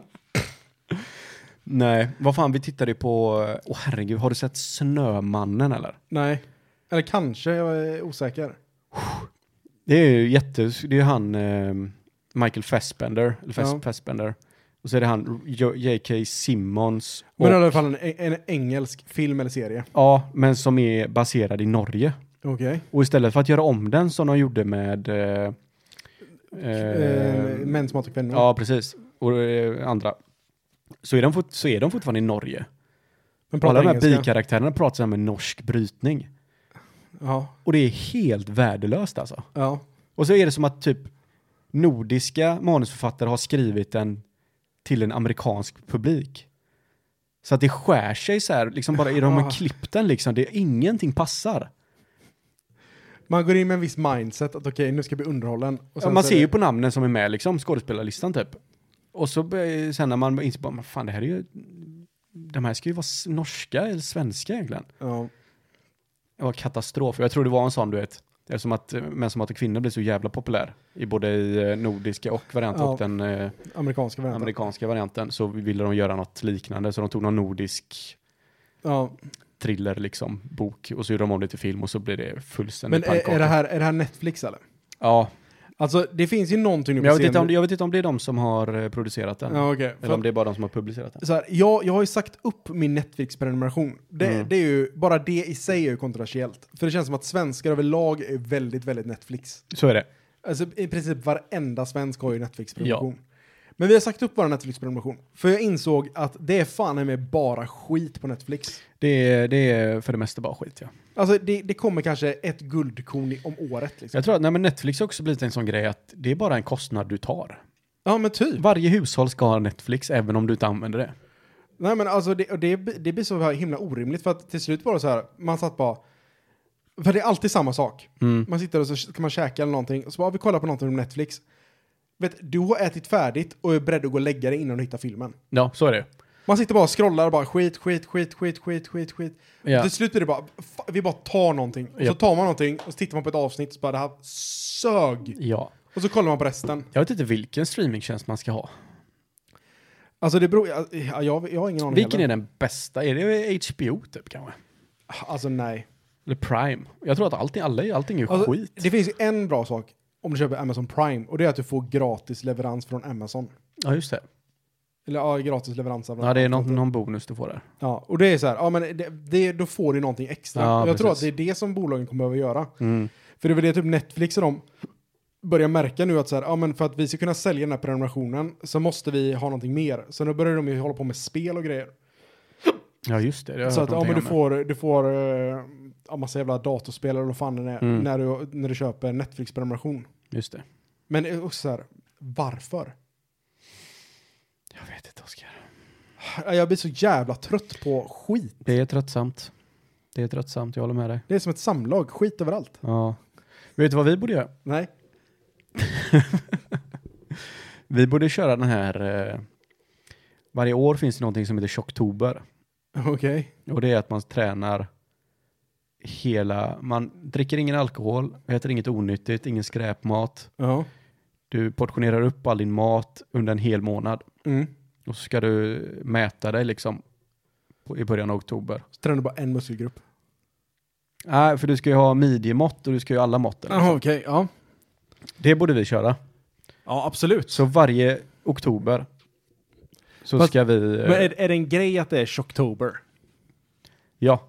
Speaker 3: Nej, vad fan, vi tittade ju på, åh herregud, har du sett Snömannen eller?
Speaker 2: Nej. Eller kanske, jag är osäker.
Speaker 3: Det är ju jätte, det är ju han eh, Michael Fassbender, eller Fass,
Speaker 2: Ja.
Speaker 3: Fassbender. Och så är det han J- J.K. Simmons. Och,
Speaker 2: Men i alla fall en, en engelsk film eller serie.
Speaker 3: Ja, men som är baserad i Norge.
Speaker 2: Okej.
Speaker 3: Och istället för att göra om den som de gjorde med... Eh, eh,
Speaker 2: Eh, män som hatar kvinnor.
Speaker 3: ja, precis. Och eh, andra. Så är, de fort, så är de fortfarande i Norge.
Speaker 2: Men
Speaker 3: Alla
Speaker 2: pratar
Speaker 3: de här
Speaker 2: engelska.
Speaker 3: bikaraktärerna pratar så här med norsk brytning.
Speaker 2: Ja,
Speaker 3: Och det är helt värdelöst alltså.
Speaker 2: ja.
Speaker 3: Och så är det som att typ nordiska manusförfattare har skrivit den till en amerikansk publik. Så att det skär sig så här, liksom bara i de
Speaker 2: Ah.
Speaker 3: har klippt den liksom, det, ingenting passar.
Speaker 2: Man går in med en viss mindset att okej, nu ska vi bli underhållen. Och
Speaker 3: Ja,
Speaker 2: sen
Speaker 3: man
Speaker 2: så är
Speaker 3: ser ju
Speaker 2: det-
Speaker 3: på namnen som är med liksom, skådespelarlistan typ. Och så bör- sen när man inser bara, "Men fan det här är ju, de här ska ju vara s- norska eller svenska egentligen.
Speaker 2: Ja.
Speaker 3: Det var katastrof. Jag tror det var en sån du vet, eftersom att eh, Män som hatar kvinnor blir så jävla populär i både i eh, nordiska och varianten
Speaker 2: Ja.
Speaker 3: och den eh,
Speaker 2: Amerikanska varianten.
Speaker 3: amerikanska varianten så ville de göra något liknande så de tog någon nordisk
Speaker 2: ja.
Speaker 3: thriller liksom, bok och så gjorde de om det till film och så blev det fullständigt
Speaker 2: Men är,
Speaker 3: pannkaka.
Speaker 2: är, det här, är det här Netflix eller?
Speaker 3: Ja,
Speaker 2: Alltså det finns ju någonting nu
Speaker 3: men
Speaker 2: på
Speaker 3: jag vet, inte om,
Speaker 2: scenen.
Speaker 3: jag vet inte om det är de som har eh, producerat den.
Speaker 2: Ja, okej. För
Speaker 3: Eller om
Speaker 2: att-
Speaker 3: det är bara de som har publicerat den.
Speaker 2: så här, jag, jag har ju sagt upp min Netflix-prenumeration. Det,
Speaker 3: Mm.
Speaker 2: det är ju, bara det i sig är ju kontroversiellt. För det känns som att svenskar överlag är väldigt, väldigt Netflix.
Speaker 3: Så är det.
Speaker 2: Alltså i princip varenda svensk har ju Netflix-prenumeration. Men vi har sagt upp vår Netflix-prenumeration. För jag insåg att det är fan i mig bara skit på Netflix.
Speaker 3: Det är, det är för det mesta bara skit ja.
Speaker 2: Alltså det, det kommer kanske ett guldkorn i- om året liksom.
Speaker 3: Jag tror att nej, men Netflix har också blivit en sån grej att det är bara en kostnad du tar.
Speaker 2: Ja men typ.
Speaker 3: Varje hushåll ska ha Netflix även om du inte använder det.
Speaker 2: Nej men alltså det, och det, det blir så här himla orimligt för att till slut var det så här, man satt bara, för det är alltid samma sak. Man sitter och så ska man käka eller någonting och så bara, vi kollar på någonting på Netflix. Vet, du har ätit färdigt och är beredd att gå och lägga dig innan du hittar filmen.
Speaker 3: Ja, så är det.
Speaker 2: Man sitter bara och scrollar och bara skit, skit, skit, skit, skit, skit, skit.
Speaker 3: Ja.
Speaker 2: Och till slut blir det bara, fa- vi bara tar någonting. Och så
Speaker 3: Japp.
Speaker 2: tar man någonting och så tittar man på ett avsnitt och så bara, det här sög.
Speaker 3: Ja.
Speaker 2: Och så kollar man på resten.
Speaker 3: Jag vet inte vilken streamingtjänst man ska ha.
Speaker 2: Alltså det beror, jag, jag, jag har ingen aning
Speaker 3: Vilken
Speaker 2: heller.
Speaker 3: är den bästa? Är det HBO typ kanske?
Speaker 2: Alltså nej.
Speaker 3: Eller Prime? Jag tror att allting, alla, allting är
Speaker 2: Alltså,
Speaker 3: skit.
Speaker 2: Det finns ju en bra sak om du köper Amazon Prime och det är att du får gratis leverans från Amazon.
Speaker 3: Ja, just det.
Speaker 2: Eller ja, gratis leverans. av-
Speaker 3: Ja, det är någon, någon bonus du får där.
Speaker 2: Ja, och det är så här, ja men det, det, då får du någonting extra.
Speaker 3: Ja,
Speaker 2: Och jag tror att det
Speaker 3: precis. Mm.
Speaker 2: är det som bolagen kommer behöva göra. För det är väl det typ Netflix och de börjar märka nu att så här, ja men för att vi ska kunna sälja den här prenumerationen så måste vi ha någonting mer. Så nu börjar de ju hålla på med spel och grejer.
Speaker 3: Ja, just det. det har jag
Speaker 2: Så
Speaker 3: hört
Speaker 2: att ja, men du
Speaker 3: någonting om.
Speaker 2: får, du får uh, ja, massa jävla datorspel eller vad fan det är
Speaker 3: Mm.
Speaker 2: när, du, när du köper Netflix-prenumeration.
Speaker 3: Just det.
Speaker 2: Men det är också så här, varför?
Speaker 3: Jag vet inte, Oskar.
Speaker 2: Jag blir så jävla trött på skit.
Speaker 3: Det är tröttsamt. Det är tröttsamt, jag håller med dig.
Speaker 2: Det är som ett samlag, skit överallt.
Speaker 3: Ja. Vet du vad vi borde göra?
Speaker 2: Nej. <laughs>
Speaker 3: Vi borde köra den här... Eh, varje år finns det någonting som heter tjocktober.
Speaker 2: Okej.
Speaker 3: Och det är att man tränar hela... Man dricker ingen alkohol, äter inget onyttigt, ingen skräpmat.
Speaker 2: Ja.
Speaker 3: Du portionerar upp all din mat under en hel månad.
Speaker 2: Mm.
Speaker 3: Och så ska du mäta dig liksom på, i början av oktober.
Speaker 2: Så tränar du bara en muskelgrupp.
Speaker 3: Nej, för du ska ju ha midjemått och du ska ju ha alla mått. eller?
Speaker 2: okej. Ja.
Speaker 3: Det borde vi köra.
Speaker 2: Ja, absolut.
Speaker 3: Så varje oktober så
Speaker 2: Fast-
Speaker 3: ska vi... eh,
Speaker 2: Men är, är det en grej att det är tjocktober?
Speaker 3: Ja,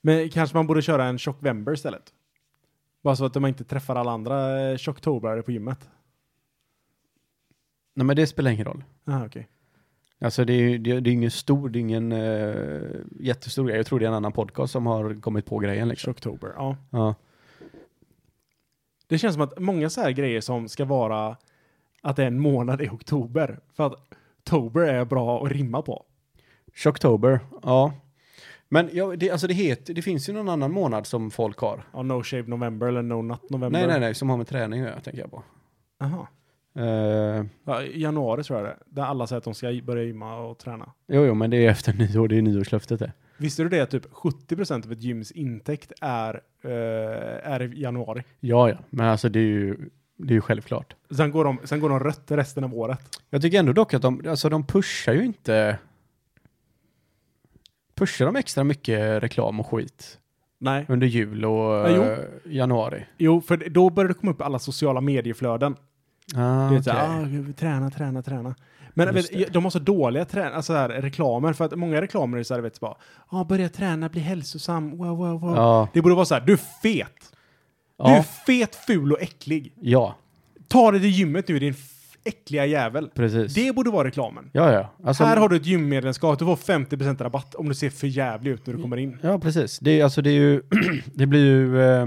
Speaker 2: Men kanske man borde köra en tjockvember istället? Bara så att man inte träffar alla andra eh, tjocktobrare på gymmet.
Speaker 3: nej men det spelar ingen roll.
Speaker 2: Aha, Ah, okej.
Speaker 3: Alltså det är ju det, det är ingen stor, det är ingen eh, jättestor grej. Jag tror det är en annan podcast som har kommit på grejen liksom.
Speaker 2: Tjocktober, ja.
Speaker 3: Ja.
Speaker 2: Det känns som att många så här grejer som ska vara att det är en månad i oktober. För att tober är bra att rimma på.
Speaker 3: Shocktober, ja. Men ja, det, alltså det, heter, det finns ju någon annan månad som folk har.
Speaker 2: Ja, no shave november eller no nut november.
Speaker 3: Nej, nej, nej, som har med träning att göra tänker jag på.
Speaker 2: Aha.
Speaker 3: Eh,
Speaker 2: Ja, i januari tror jag det är, Där alla säger att de ska börja gymma och träna.
Speaker 3: jo, jo, men det är efter <laughs> nyår, det är nyårslöftet det.
Speaker 2: Visste du det att typ 70% av ett gyms intäkt är, eh, är i januari?
Speaker 3: Ja, ja, men alltså det är ju, det är ju självklart.
Speaker 2: Sen går, de, sen går de rött resten av året.
Speaker 3: Jag tycker ändå dock att de, alltså de pushar ju inte... Pushar de extra mycket reklam och skit
Speaker 2: Nej.
Speaker 3: under jul och
Speaker 2: Ja, jo.
Speaker 3: eh, januari?
Speaker 2: Jo, för då börjar det komma upp alla sociala medieflöden.
Speaker 3: Ah,
Speaker 2: Det är så
Speaker 3: okej.
Speaker 2: här, ah, träna, träna, träna. Men
Speaker 3: Just
Speaker 2: vet, jag- de har så dåliga trä- alltså här, reklamer, för att många reklamer är så här, vet du bara, ah, börja träna, bli hälsosam, wow, wow, wow.
Speaker 3: Ja.
Speaker 2: Det borde vara så här, du är fet! Du är
Speaker 3: Ja,
Speaker 2: fet, ful och äcklig.
Speaker 3: ja,
Speaker 2: Ta dig till gymmet nu, din f- äckliga jävel.
Speaker 3: precis.
Speaker 2: Det borde vara reklamen.
Speaker 3: Ja, ja. Alltså,
Speaker 2: Här har du ett gymmedlemskap, du får 50% rabatt om du ser för jävlig ut
Speaker 3: Mm.
Speaker 2: när du kommer in.
Speaker 3: Ja, precis. Det, är- alltså, det, är ju, <clears throat> det blir ju eh,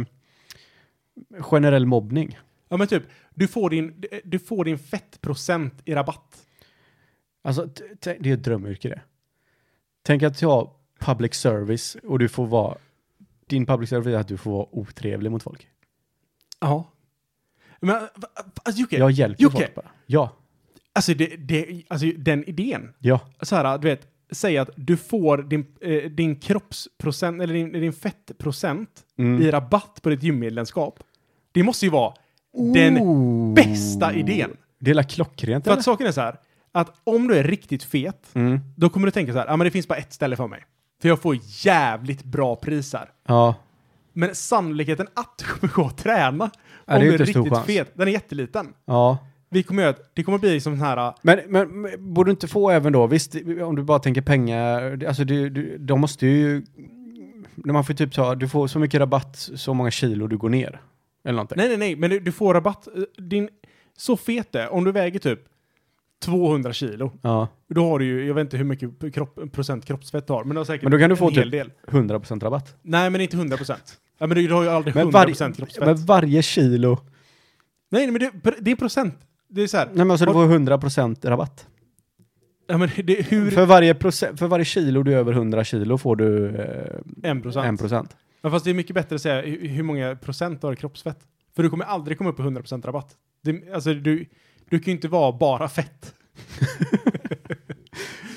Speaker 3: generell mobbning.
Speaker 2: Ja men typ, du får din, du får din fettprocent i rabatt.
Speaker 3: Alltså, t- t- det är ett drömyrke det. Tänk att jag har public service och du får vara... Din public service är att du får vara otrevlig mot folk.
Speaker 2: Ja. Men va- va- alltså Jocke,
Speaker 3: Jag hjälper
Speaker 2: Jocke.
Speaker 3: folk bara. Ja,
Speaker 2: alltså, det, det, alltså den idén.
Speaker 3: ja.
Speaker 2: Så här, du vet, säg att du får din, eh, din kroppsprocent, eller din, din fettprocent
Speaker 3: Mm.
Speaker 2: i rabatt på ditt gymmedlemskap. Det måste ju vara den bästa idén.
Speaker 3: Mm. Det är la klockrent
Speaker 2: För
Speaker 3: eller?
Speaker 2: att saken är så här, att om du är riktigt fet,
Speaker 3: Mm.
Speaker 2: då kommer du tänka så här, ja men det finns bara ett ställe för mig. För jag får jävligt bra priser.
Speaker 3: Ja.
Speaker 2: Men sannolikheten att du kommer gå och träna
Speaker 3: det är
Speaker 2: om du är
Speaker 3: inte stor
Speaker 2: riktigt
Speaker 3: chans.
Speaker 2: fet, den är jätteliten.
Speaker 3: ja.
Speaker 2: Vi kommer göra, det kommer bli som den här,
Speaker 3: Men, men, men borde du inte få även då, visst om du bara tänker pengar, det- alltså du, du, de måste ju, när man får typ ta, du får så mycket rabatt, så många kilo du går ner. Eller någonting.
Speaker 2: nej nej nej, men du, du får rabatt. Eh, Din, så fet du är, om du väger typ 200 kilo,
Speaker 3: Ja,
Speaker 2: då har du ju, jag vet inte hur mycket kropp, procent kroppsfett du har, men du har säkert
Speaker 3: Men då kan du få
Speaker 2: en hel
Speaker 3: typ-
Speaker 2: del.
Speaker 3: 100% rabatt.
Speaker 2: Nej men inte 100 procent. Ja, men du, du har ju aldrig
Speaker 3: Men,
Speaker 2: 100
Speaker 3: varje-
Speaker 2: procent kroppsfett.
Speaker 3: men varje kilo,
Speaker 2: Nej, nej men det, det är procent. Det är så här,
Speaker 3: nej men alltså du får 100% rabatt.
Speaker 2: ja, men det, hur,
Speaker 3: För varje, procent, för varje kilo du är över 100 kilo får du eh,
Speaker 2: 1 procent.
Speaker 3: 1%.
Speaker 2: Ja, fast det är mycket bättre att säga hu- hur många procent du har i kroppsfett. För du kommer aldrig komma upp i 100% rabatt. Det, alltså, du, du kan ju inte vara bara fett, <laughs>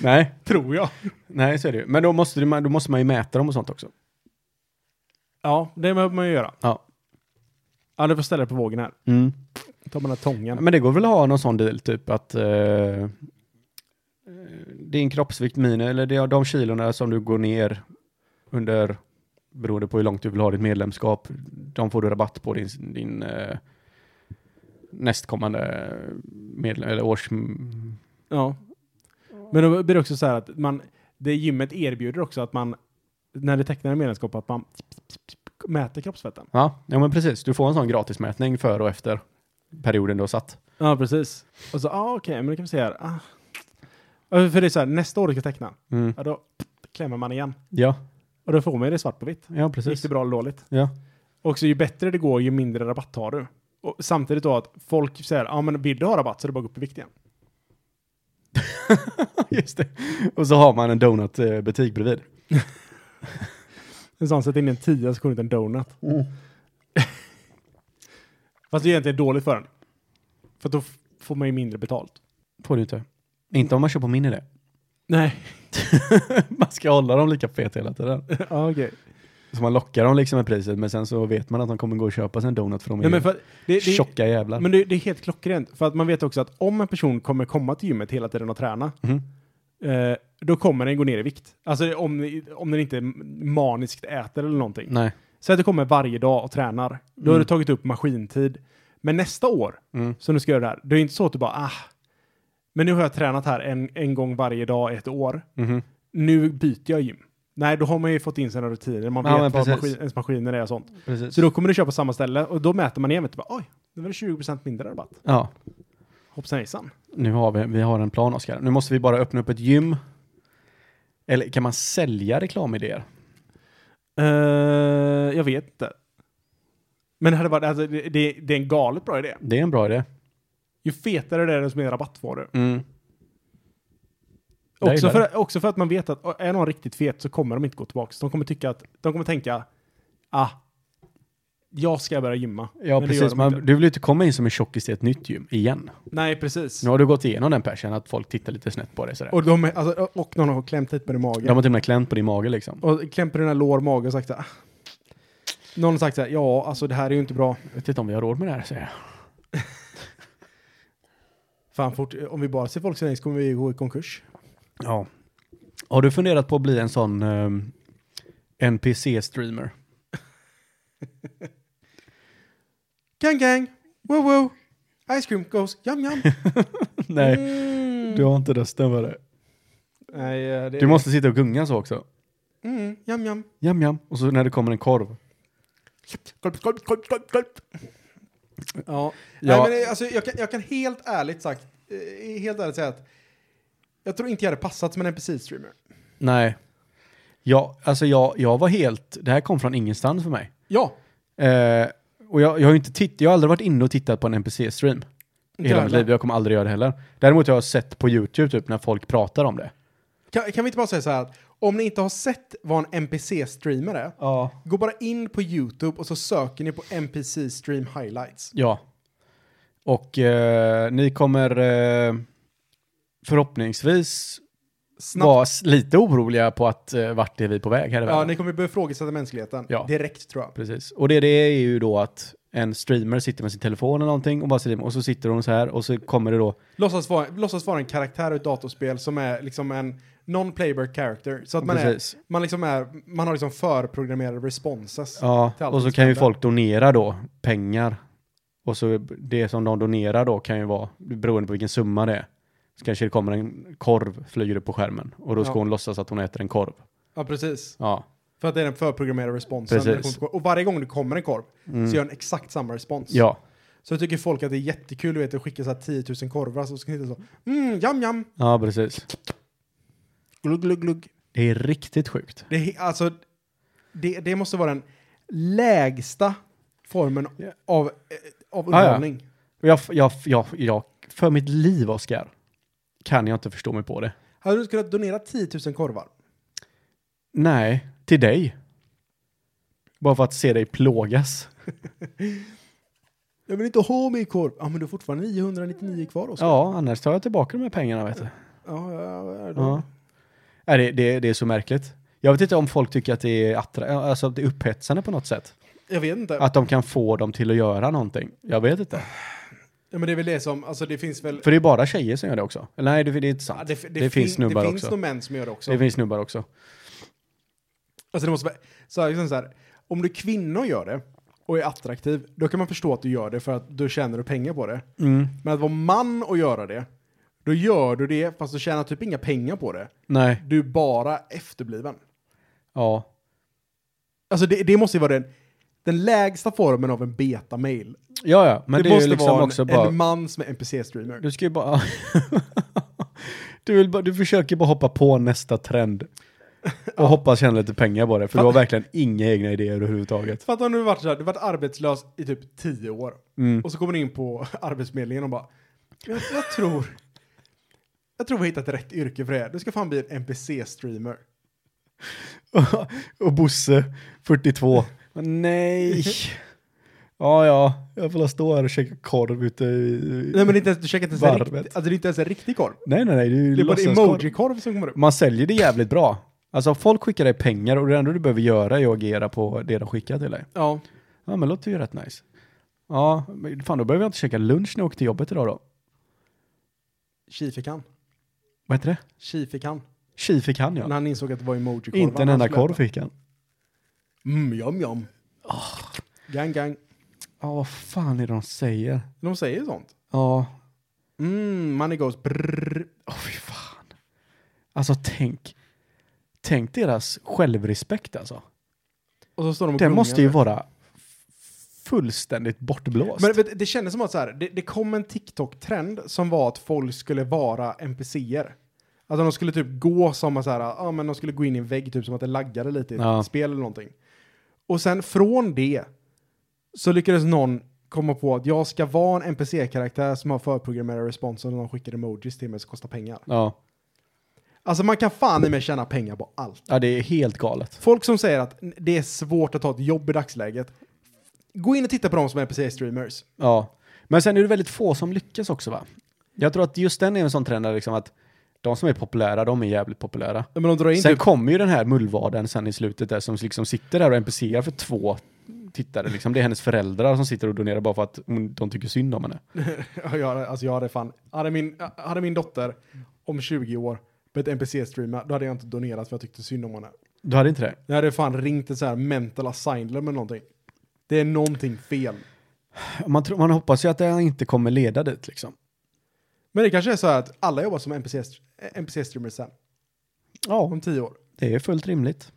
Speaker 3: Nej,
Speaker 2: tror jag.
Speaker 3: nej så är det ju. Men då måste, du, då måste man ju mäta dem och sånt också.
Speaker 2: Ja, det behöver man ju göra.
Speaker 3: Ja.
Speaker 2: Ja, du får ställa dig på vågen här. Ta med den här tången.
Speaker 3: Men det går väl att ha någon sån deal, typ att eh, din kroppsvikt minus, eller det är de kilorna som du går ner under, beroende på hur långt du vill ha ditt medlemskap, de får du rabatt på din, din eh, nästkommande medlem, eller års...
Speaker 2: Ja. Men då blir det också så här att man, det gymmet erbjuder också att man, när det tecknar en medlemskap, att man mäter kroppsfetten.
Speaker 3: Ja, ja men precis. Du får en sån gratismätning före och efter perioden du har satt.
Speaker 2: Ja, precis. Och så, ja ah, okej, men det kan vi se här. Ah. Ja, För det är så här, nästa år du ska teckna,
Speaker 3: Mm.
Speaker 2: ja, då klämmer man igen.
Speaker 3: Ja,
Speaker 2: Och då får man ju det svart på vitt.
Speaker 3: ja
Speaker 2: Gick
Speaker 3: precis.
Speaker 2: det bra eller dåligt?
Speaker 3: Ja.
Speaker 2: Och så ju bättre det går, ju mindre rabatt har du. Och samtidigt då att folk säger, ja men vill du ha rabatt så är det bara att gå upp i vikt igen.
Speaker 3: <laughs> Just det. Och så har man en donutbutik bredvid.
Speaker 2: En sån sätter in en tia så kommer det ut en donut.
Speaker 3: Mm.
Speaker 2: <laughs> Fast det är egentligen dåligt för den. För att då f- får man ju mindre betalt.
Speaker 3: Får du inte. Inte om man kör på min idé.
Speaker 2: Nej.
Speaker 3: <laughs> man ska hålla dem lika fet hela tiden.
Speaker 2: <laughs> ja, okej.
Speaker 3: Så man lockar dem liksom med priset, men sen så vet man att de kommer gå och köpa sig en donut för de är
Speaker 2: Nej men för att det, det,
Speaker 3: tjocka jävlar.
Speaker 2: Men det, det är helt klockrent. För att man vet också att om en person kommer komma till gymmet hela tiden och träna,
Speaker 3: Mhm.
Speaker 2: eh, då kommer den gå ner i vikt. Alltså om, om den inte maniskt äter eller någonting.
Speaker 3: Nej.
Speaker 2: Säg att du kommer varje dag och tränar. Då har
Speaker 3: Mm.
Speaker 2: du tagit upp maskintid. Men nästa år,
Speaker 3: Mm.
Speaker 2: som du ska göra det här, det är inte så att du bara ah, men nu har jag tränat här en, en gång varje dag i ett år.
Speaker 3: Mhm.
Speaker 2: Nu byter jag gym. Nej, då har man ju fått in sina rutiner. Man
Speaker 3: Ja, men
Speaker 2: vet vad
Speaker 3: precis.
Speaker 2: maskin, ens maskiner är och sånt.
Speaker 3: Precis.
Speaker 2: Så då kommer du köpa samma ställe och då mäter man igen. Vet du, bara, Oj, nu var det 20% mindre rabatt.
Speaker 3: Ja,
Speaker 2: Hoppsan hejsan.
Speaker 3: nu har vi, vi har en plan Oskar. Nu måste vi bara öppna upp ett gym. Eller kan man sälja reklamidéer?
Speaker 2: Eh, jag vet inte. Men det, hade varit, alltså, det, det, det är en galet bra idé.
Speaker 3: Det är en bra idé.
Speaker 2: Ju fetare det är, desto mer rabatt får du.
Speaker 3: Mm. Jag
Speaker 2: Också
Speaker 3: gillar
Speaker 2: för, också för att man vet att är någon riktigt fet så kommer de inte gå tillbaka. Så de kommer tycka att, de kommer tänka, ah, jag ska börja gymma.
Speaker 3: Ja,
Speaker 2: Men det gör
Speaker 3: precis.
Speaker 2: de
Speaker 3: Man,
Speaker 2: inte.
Speaker 3: du vill ju inte komma in som en tjockis i ett nytt gym igen.
Speaker 2: Nej, precis.
Speaker 3: Nu har du gått igenom den persen att folk tittar lite snett på dig sådär.
Speaker 2: Och, de, är- alltså, och någon har klämt lite på din mage.
Speaker 3: De har till och med klämt på din mage liksom.
Speaker 2: Och klämt på dina lår, mage och sagt så här, ah. Någon har sagt så här, ja, alltså det här är ju inte bra.
Speaker 3: Jag vet inte om vi har råd med det här, säger jag.
Speaker 2: Fan, fort, om vi bara ser folk så kommer vi gå i konkurs.
Speaker 3: Ja. Har du funderat på att bli en sån ehm, NPC-streamer?
Speaker 2: Gang, gang, wow, wow, ice cream goes, yum, yum.
Speaker 3: <laughs> Nej,
Speaker 2: Mm.
Speaker 3: du har inte rösten för det.
Speaker 2: Nej, eh, det
Speaker 3: Du måste sitta och gunga så också.
Speaker 2: Mm, yum, yum.
Speaker 3: Jam, jam. Och så när det kommer en korv.
Speaker 2: Gulp, gulp, gulp, gulp, gulp. Ja.
Speaker 3: Ja.
Speaker 2: Nej, men eh, alltså, jag, kan, jag kan helt ärligt sagt, eh, helt ärligt säga att jag tror inte jag hade passat som en NPC-streamer.
Speaker 3: Nej. Ja, alltså jag, jag var helt... Det här kom från ingenstans för mig.
Speaker 2: Ja,
Speaker 3: Eh, och jag, jag har ju inte titt, jag har aldrig varit inne och tittat på en NPC-stream. I hela mitt liv. Jag kommer aldrig göra det heller. Däremot har jag sett på YouTube typ när folk pratar om det.
Speaker 2: Kan, kan vi inte bara säga så här att Om ni inte har sett vad en NPC-streamer är,
Speaker 3: Ja.
Speaker 2: gå bara in på YouTube och så söker ni på NPC Stream Highlights.
Speaker 3: Ja. Och eh, ni kommer eh, förhoppningsvis
Speaker 2: Snabbt.
Speaker 3: vara s- lite oroliga på att eh, vart är vi på väg här i världen.
Speaker 2: Ja, ni kommer börja ifrågasätta mänskligheten
Speaker 3: Ja.
Speaker 2: direkt tror jag.
Speaker 3: Precis. Och det, det är ju då att en streamer sitter med sin telefon eller någonting och bara streamar och så sitter hon så här och så kommer det då
Speaker 2: Låtsas vara, låtsas vara en karaktär ur ett datorspel som är liksom en non-playable character. Så att man, är,
Speaker 3: Precis.
Speaker 2: man, liksom är, man har liksom förprogrammerade responses.
Speaker 3: Ja,
Speaker 2: till allt
Speaker 3: och så
Speaker 2: som
Speaker 3: kan ju
Speaker 2: händer.
Speaker 3: folk donera då pengar. Och så det som de donerar då kan ju vara beroende på vilken summa det är. Så kanske det kommer en korv flyger upp på skärmen och då ska
Speaker 2: Ja.
Speaker 3: hon låtsas att hon äter en korv.
Speaker 2: Ja, precis.
Speaker 3: Ja,
Speaker 2: För att det är den förprogrammerade responsen.
Speaker 3: Precis.
Speaker 2: När
Speaker 3: Mm.
Speaker 2: det kommer till korv. Och varje gång det kommer en korv så gör den exakt samma respons.
Speaker 3: ja. så
Speaker 2: Så jag tycker folk att det är jättekul du vet, att skicka så här 10 000 korvar så ska ni sitta så mm, jam jam.
Speaker 3: ja precis.
Speaker 2: Glugg, glugg, glugg.
Speaker 3: Det är riktigt sjukt.
Speaker 2: Det, är he- alltså, det, det måste vara den lägsta formen
Speaker 3: Ja.
Speaker 2: av, eh, av
Speaker 3: Ah, ja.
Speaker 2: underhållning.
Speaker 3: Och jag, jag, jag, jag, för mitt liv, Oskar, kan jag inte förstå mig på det.
Speaker 2: Hade du kunnat donera 10 000 korvar?
Speaker 3: Nej, till dig. Bara för att se dig plågas.
Speaker 2: Jag vill inte ha mer korv. Ja, men du har fortfarande 999 kvar också.
Speaker 3: Ja, annars tar jag tillbaka de här pengarna, vet du.
Speaker 2: Ja, ja, ja, då.
Speaker 3: Ja. Nej, det, det, det är så märkligt. Jag vet inte om folk tycker att det är, attra- alltså, att det är upphetsande på något sätt.
Speaker 2: Jag vet inte.
Speaker 3: Att de kan få dem till att göra någonting. Jag vet inte.
Speaker 2: Ja, men det är väl det som, alltså det finns väl...
Speaker 3: För det är bara tjejer som gör det också. Eller nej, det, det är inte sant.
Speaker 2: Ja,
Speaker 3: det,
Speaker 2: det,
Speaker 3: finns snubbar
Speaker 2: Det finns
Speaker 3: också.
Speaker 2: nog män som gör det också.
Speaker 3: Det finns snubbar också.
Speaker 2: Alltså det måste vara, så här, liksom så här, om du kvinnor gör det och är attraktiv, då kan man förstå att du gör det för att du tjänar du pengar på det.
Speaker 3: Mm.
Speaker 2: Men att vara man och göra det, då gör du det fast du tjänar typ inga pengar på det.
Speaker 3: Nej,
Speaker 2: Du är bara efterbliven.
Speaker 3: ja.
Speaker 2: Alltså det, det måste ju vara den, den lägsta formen av en beta-mail.
Speaker 3: Ja, ja, men
Speaker 2: det
Speaker 3: det, är ju
Speaker 2: måste
Speaker 3: liksom
Speaker 2: vara en,
Speaker 3: också bara...
Speaker 2: en man som är NPC-streamer.
Speaker 3: Du ska ju bara... <laughs> du, vill bara, du försöker bara hoppa på nästa trend. Och hoppas tjäna lite pengar på det, för du har verkligen inga egna idéer överhuvudtaget.
Speaker 2: Fattar om du har varit så här, du har varit arbetslös i typ tio år.
Speaker 3: Mm.
Speaker 2: Och så kommer du in på <laughs> Arbetsförmedlingen och bara, jag, jag tror, jag tror vi har hittat rätt yrke för det här. Du ska fan bli en NPC-streamer.
Speaker 3: och Bosse, 42. Men Nej! <laughs> Ja, ja, jag får stå här och käka korv ute i...
Speaker 2: Nej men det är inte ens, du käkar inte ens en
Speaker 3: Varvet.
Speaker 2: riktig, alltså det är inte ens en riktig korv.
Speaker 3: nej, nej, nej, det är ju
Speaker 2: Det är bara en
Speaker 3: låtsaskorv.
Speaker 2: emoji-korv som kommer upp.
Speaker 3: Man säljer det jävligt bra. Alltså folk skickar dig pengar och det enda du behöver göra är att agera på det de skickar till dig.
Speaker 2: Ja.
Speaker 3: Ja, men låter ju rätt nice. Ja, men fan då behöver jag inte käka lunch när jag åker till jobbet idag då.
Speaker 2: Kifikan.
Speaker 3: Vad heter det?
Speaker 2: Kifikan.
Speaker 3: Tji fick han
Speaker 2: När
Speaker 3: ja.
Speaker 2: han insåg att det var emoji-korv.
Speaker 3: Inte en
Speaker 2: Han
Speaker 3: enda
Speaker 2: skulle
Speaker 3: korv
Speaker 2: äta.
Speaker 3: fick han.
Speaker 2: Mm, jam jam.
Speaker 3: Ah.
Speaker 2: Gang gang.
Speaker 3: Ja, vad fan är det de säger?
Speaker 2: De säger sånt.
Speaker 3: Ja.
Speaker 2: Mm, money goes brrrr.
Speaker 3: Åh fy fan. Alltså tänk. Tänk deras självrespekt alltså.
Speaker 2: Och så står de och
Speaker 3: Den
Speaker 2: gungar.
Speaker 3: måste ju vara fullständigt bortblåst.
Speaker 2: Men vet, du, det kändes som att så här, det, det kom en TikTok-trend som var att folk skulle vara NPCer. Att de skulle typ gå som att så här, ja ah, men de skulle gå in i en vägg typ som att det laggade lite i ett
Speaker 3: Ja.
Speaker 2: spel eller någonting. Och sen från det så lyckades någon komma på att jag ska vara en NPC-karaktär som har förprogrammerad respons och de skickar emojis till mig som kostar pengar.
Speaker 3: ja.
Speaker 2: Alltså man kan fan i mig tjäna pengar på allt.
Speaker 3: ja, det är helt galet.
Speaker 2: Folk som säger att det är svårt att ta ett jobb i dagsläget. Gå in och titta på dem som är NPC-streamers.
Speaker 3: Ja. Men sen är det väldigt få som lyckas också va? Jag tror att just den är en sån trend där liksom att de som är populära, de är jävligt populära.
Speaker 2: Men de drar in
Speaker 3: Sen
Speaker 2: typ
Speaker 3: kommer ju den här mullvaden sen i slutet där som liksom sitter där och NPCar för två tittare. Liksom. Det är hennes föräldrar som sitter och donerar bara för att hon- de tycker synd om henne.
Speaker 2: Ja, <laughs> Jag hade, alltså jag hade fan, hade min, hade min dotter om 20 år börjat NPC-streama, då hade jag inte donerat för jag tyckte synd om henne.
Speaker 3: Du hade inte det?
Speaker 2: Jag hade fan ringt en så här mental asylum eller någonting. Det är någonting fel.
Speaker 3: Man, tror, man hoppas ju att det inte kommer leda dit liksom.
Speaker 2: Men det kanske är så här att alla jobbar som NPC-streamers NPC sen,
Speaker 3: Ja,
Speaker 2: om 10 år.
Speaker 3: det är fullt rimligt.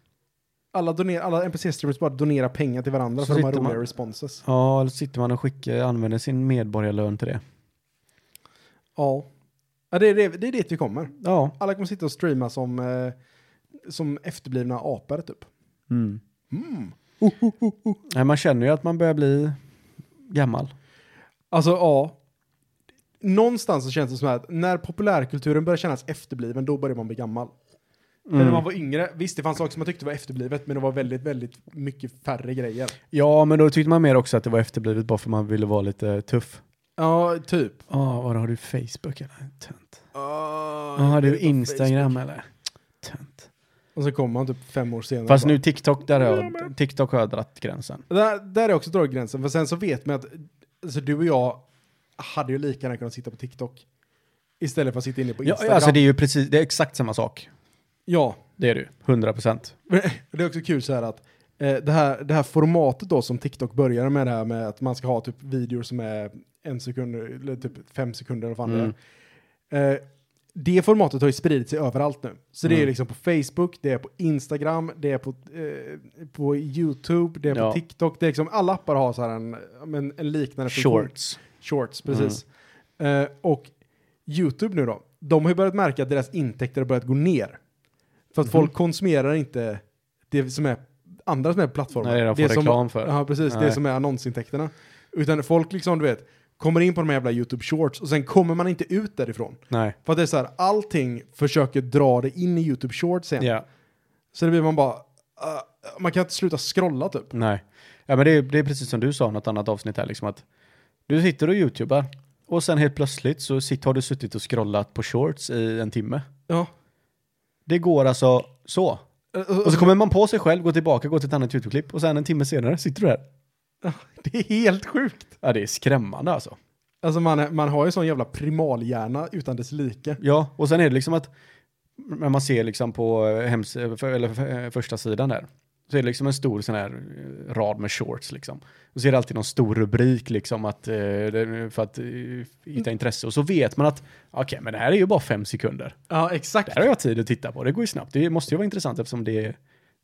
Speaker 2: Alla, doner- alla NPC-streamers bara donerar pengar till varandra
Speaker 3: Så
Speaker 2: för de har
Speaker 3: sitter
Speaker 2: roliga
Speaker 3: man-
Speaker 2: responses.
Speaker 3: Ja, eller sitter man och skickar, använder sin medborgarlön till det.
Speaker 2: Ja. ja det, är det, det är dit vi kommer.
Speaker 3: Ja.
Speaker 2: Alla kommer sitta och streama som, eh, som efterblivna apor typ.
Speaker 3: Mm. Nej, man känner ju att man börjar bli gammal.
Speaker 2: Alltså ja. Någonstans så känns det som att när populärkulturen börjar kännas efterbliven, då börjar man bli gammal. Men
Speaker 3: Mm.
Speaker 2: När man var yngre, visst det fanns saker som man tyckte var efterblivet, men det var väldigt, väldigt mycket färre grejer.
Speaker 3: Ja, men då tyckte man mer också att det var efterblivet bara för man ville vara lite tuff.
Speaker 2: Ja, typ.
Speaker 3: Ja, ah, vad har du Facebook eller? Tönt.
Speaker 2: Ah,
Speaker 3: Ja, har du Instagram eller? Tönt.
Speaker 2: Och så kommer man typ fem år senare.
Speaker 3: Fast
Speaker 2: bara,
Speaker 3: nu TikTok, där har jag, TikTok har jag dratt gränsen.
Speaker 2: Där, där är också dragit gränsen, för sen så vet man att alltså, du och jag hade ju lika gärna kunnat sitta på TikTok istället för att sitta inne på
Speaker 3: Ja,
Speaker 2: Instagram. Ja,
Speaker 3: alltså det är ju precis, det är exakt samma sak. Det är det ju, 100 procent.
Speaker 2: Men Det är också kul så här att eh, det, här, det här formatet då som TikTok började med det här med att man ska ha typ videor som är en sekund eller typ fem sekunder eller vad fan
Speaker 3: Mm.
Speaker 2: det är. Eh, det formatet har ju spridit sig överallt nu. Så det är
Speaker 3: Mm.
Speaker 2: liksom på Facebook, det är på Instagram, det är på, eh, på YouTube, det är
Speaker 3: Ja.
Speaker 2: på TikTok. Det är liksom, alla appar har så här en, ja, men en liknande funktion.
Speaker 3: Shorts.
Speaker 2: Shorts,
Speaker 3: Mm.
Speaker 2: precis. Eh, och YouTube nu då, de har ju börjat märka att deras intäkter har börjat gå ner. För att
Speaker 3: Mhm.
Speaker 2: folk konsumerar inte det som är andra som är plattformar.
Speaker 3: Nej, det de får
Speaker 2: som,
Speaker 3: reklam för.
Speaker 2: Ja, precis.
Speaker 3: Nej.
Speaker 2: Det som är annonsintäkterna. Utan folk liksom, du vet, kommer in på de här jävla YouTube shorts och sen kommer man inte ut därifrån.
Speaker 3: Nej.
Speaker 2: För att det är så här, allting försöker dra det in i YouTube shorts igen.
Speaker 3: Ja.
Speaker 2: Så det blir man bara, ah, man kan inte sluta scrolla typ.
Speaker 3: Nej. Ja, men det är, det är precis som du sa i något annat avsnitt här, liksom att du sitter och youtubar och sen helt plötsligt så sitter, har du suttit och scrollat på shorts i en timme.
Speaker 2: Ja.
Speaker 3: Det går alltså så. Och så kommer man på sig själv, går tillbaka, går till ett annat youtube-klipp och sen en timme senare sitter du här.
Speaker 2: <laughs> Det är helt sjukt.
Speaker 3: Ja, det är skrämmande alltså.
Speaker 2: Alltså man, är- man har ju sån jävla primalhjärna utan dess like.
Speaker 3: Ja, och sen är det liksom att när man ser liksom på eh, hems eh, för, eller för, eh, första sidan där så är det liksom en stor sån här eh, rad med shorts liksom. Och så är det alltid någon stor rubrik liksom att, eh, det- för att eh, hitta intresse. Och så vet man att okej, men det här är ju bara fem sekunder.
Speaker 2: Ja, exakt.
Speaker 3: Det här har jag tid att titta på, det går ju snabbt. Det måste ju vara intressant eftersom det är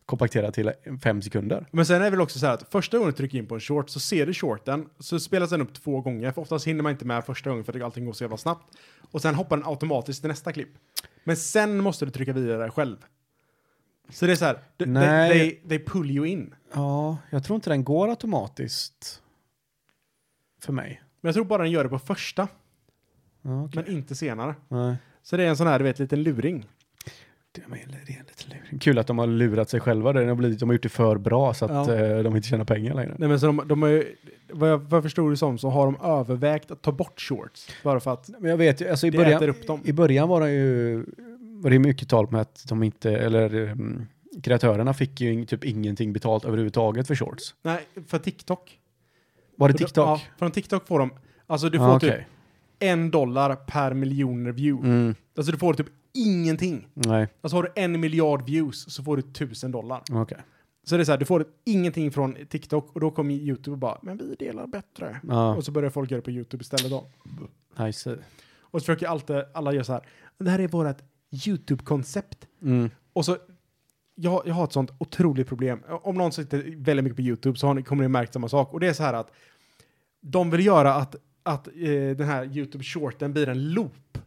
Speaker 3: kompakterat till fem sekunder.
Speaker 2: Men sen är det väl också så här att första gången du trycker in på en short så ser du shorten, så spelas den upp två gånger, för oftast hinner man inte med första gången för att allting går så jävla snabbt. Och sen hoppar den automatiskt till nästa klipp. Men sen måste du trycka vidare själv. Så det är så här, de- de-
Speaker 3: Nej.
Speaker 2: they, they pull you in.
Speaker 3: Ja, jag tror inte den går automatiskt för mig.
Speaker 2: Men jag tror bara den gör det på första,
Speaker 3: Ja, okej.
Speaker 2: men inte senare.
Speaker 3: Nej.
Speaker 2: Så det är en sån här, du vet, liten luring.
Speaker 3: Det är väl- det är lite luring. Kul att de har lurat sig själva. där. De har, blivit, de har gjort det för bra så att
Speaker 2: Ja.
Speaker 3: eh, de inte tjänar pengar längre.
Speaker 2: Nej men så de, de har ju, vad jag, vad jag förstod det som så har de övervägt att ta bort shorts. Bara för att,
Speaker 3: Men jag vet ju, alltså i
Speaker 2: Det
Speaker 3: början,
Speaker 2: äter upp dem.
Speaker 3: i början var det ju var det mycket tal om att de inte, eller mm, kreatörerna fick ju ing- typ ingenting betalt överhuvudtaget för shorts.
Speaker 2: nej, för TikTok.
Speaker 3: Var det
Speaker 2: För de-
Speaker 3: TikTok?
Speaker 2: Ja, från TikTok får de, alltså du får
Speaker 3: Ja,
Speaker 2: typ
Speaker 3: okej.
Speaker 2: en dollar per miljon view.
Speaker 3: Mm,
Speaker 2: Alltså du får typ ingenting.
Speaker 3: nej,
Speaker 2: Alltså har du en miljard views så får du tusen dollar.
Speaker 3: okej.
Speaker 2: Så det är så här, du får ingenting från TikTok och då kommer YouTube och bara, men vi delar bättre.
Speaker 3: Ja,
Speaker 2: Och så börjar folk göra det på YouTube istället då.
Speaker 3: I see.
Speaker 2: Och så försöker alltid, alla göra så här, det här är vårt YouTube-koncept.
Speaker 3: Mm.
Speaker 2: Och så, jag, jag har ett sånt otroligt problem. Om någon sitter väldigt mycket på YouTube så har ni, kommer ni märkt samma sak. Och det är så här att de vill göra att, att eh, den här YouTube-shorten blir en loop.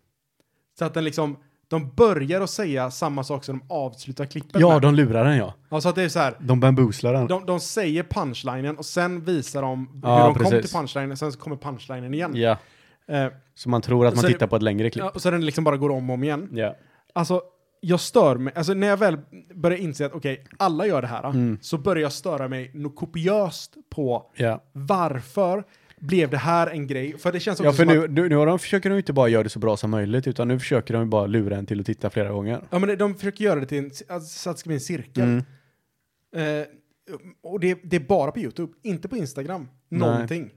Speaker 2: Så att den liksom, de börjar att säga samma sak som de avslutar klippet
Speaker 3: Ja,
Speaker 2: med.
Speaker 3: de lurar den ja.
Speaker 2: Ja, så att det är så här,
Speaker 3: De bamboozlar den.
Speaker 2: de, de säger punchlinen och sen visar de hur
Speaker 3: Ja,
Speaker 2: de kom
Speaker 3: precis.
Speaker 2: till punchlinen, sen så kommer punchlinen igen.
Speaker 3: Ja,
Speaker 2: Eh,
Speaker 3: så man tror att man
Speaker 2: Så det-
Speaker 3: tittar på ett längre klipp.
Speaker 2: ja, och så den liksom bara går om och om igen.
Speaker 3: Ja.
Speaker 2: Alltså, jag stör mig. Alltså när jag väl börjar inse att okej, alla gör det här.
Speaker 3: Mm.
Speaker 2: Så börjar jag störa mig något kopiöst på
Speaker 3: Ja.
Speaker 2: varför blev det här en grej? För det känns också
Speaker 3: Ja, för
Speaker 2: som
Speaker 3: nu,
Speaker 2: att...
Speaker 3: nu, nu har de, försöker de ju inte bara göra det så bra som möjligt, utan nu försöker de ju bara lura en till att titta flera gånger.
Speaker 2: Ja, men de försöker göra det till en, alltså, så att det ska bli en cirkel. Eh, och det, det är bara på YouTube, inte på Instagram.
Speaker 3: Nej.
Speaker 2: Någonting.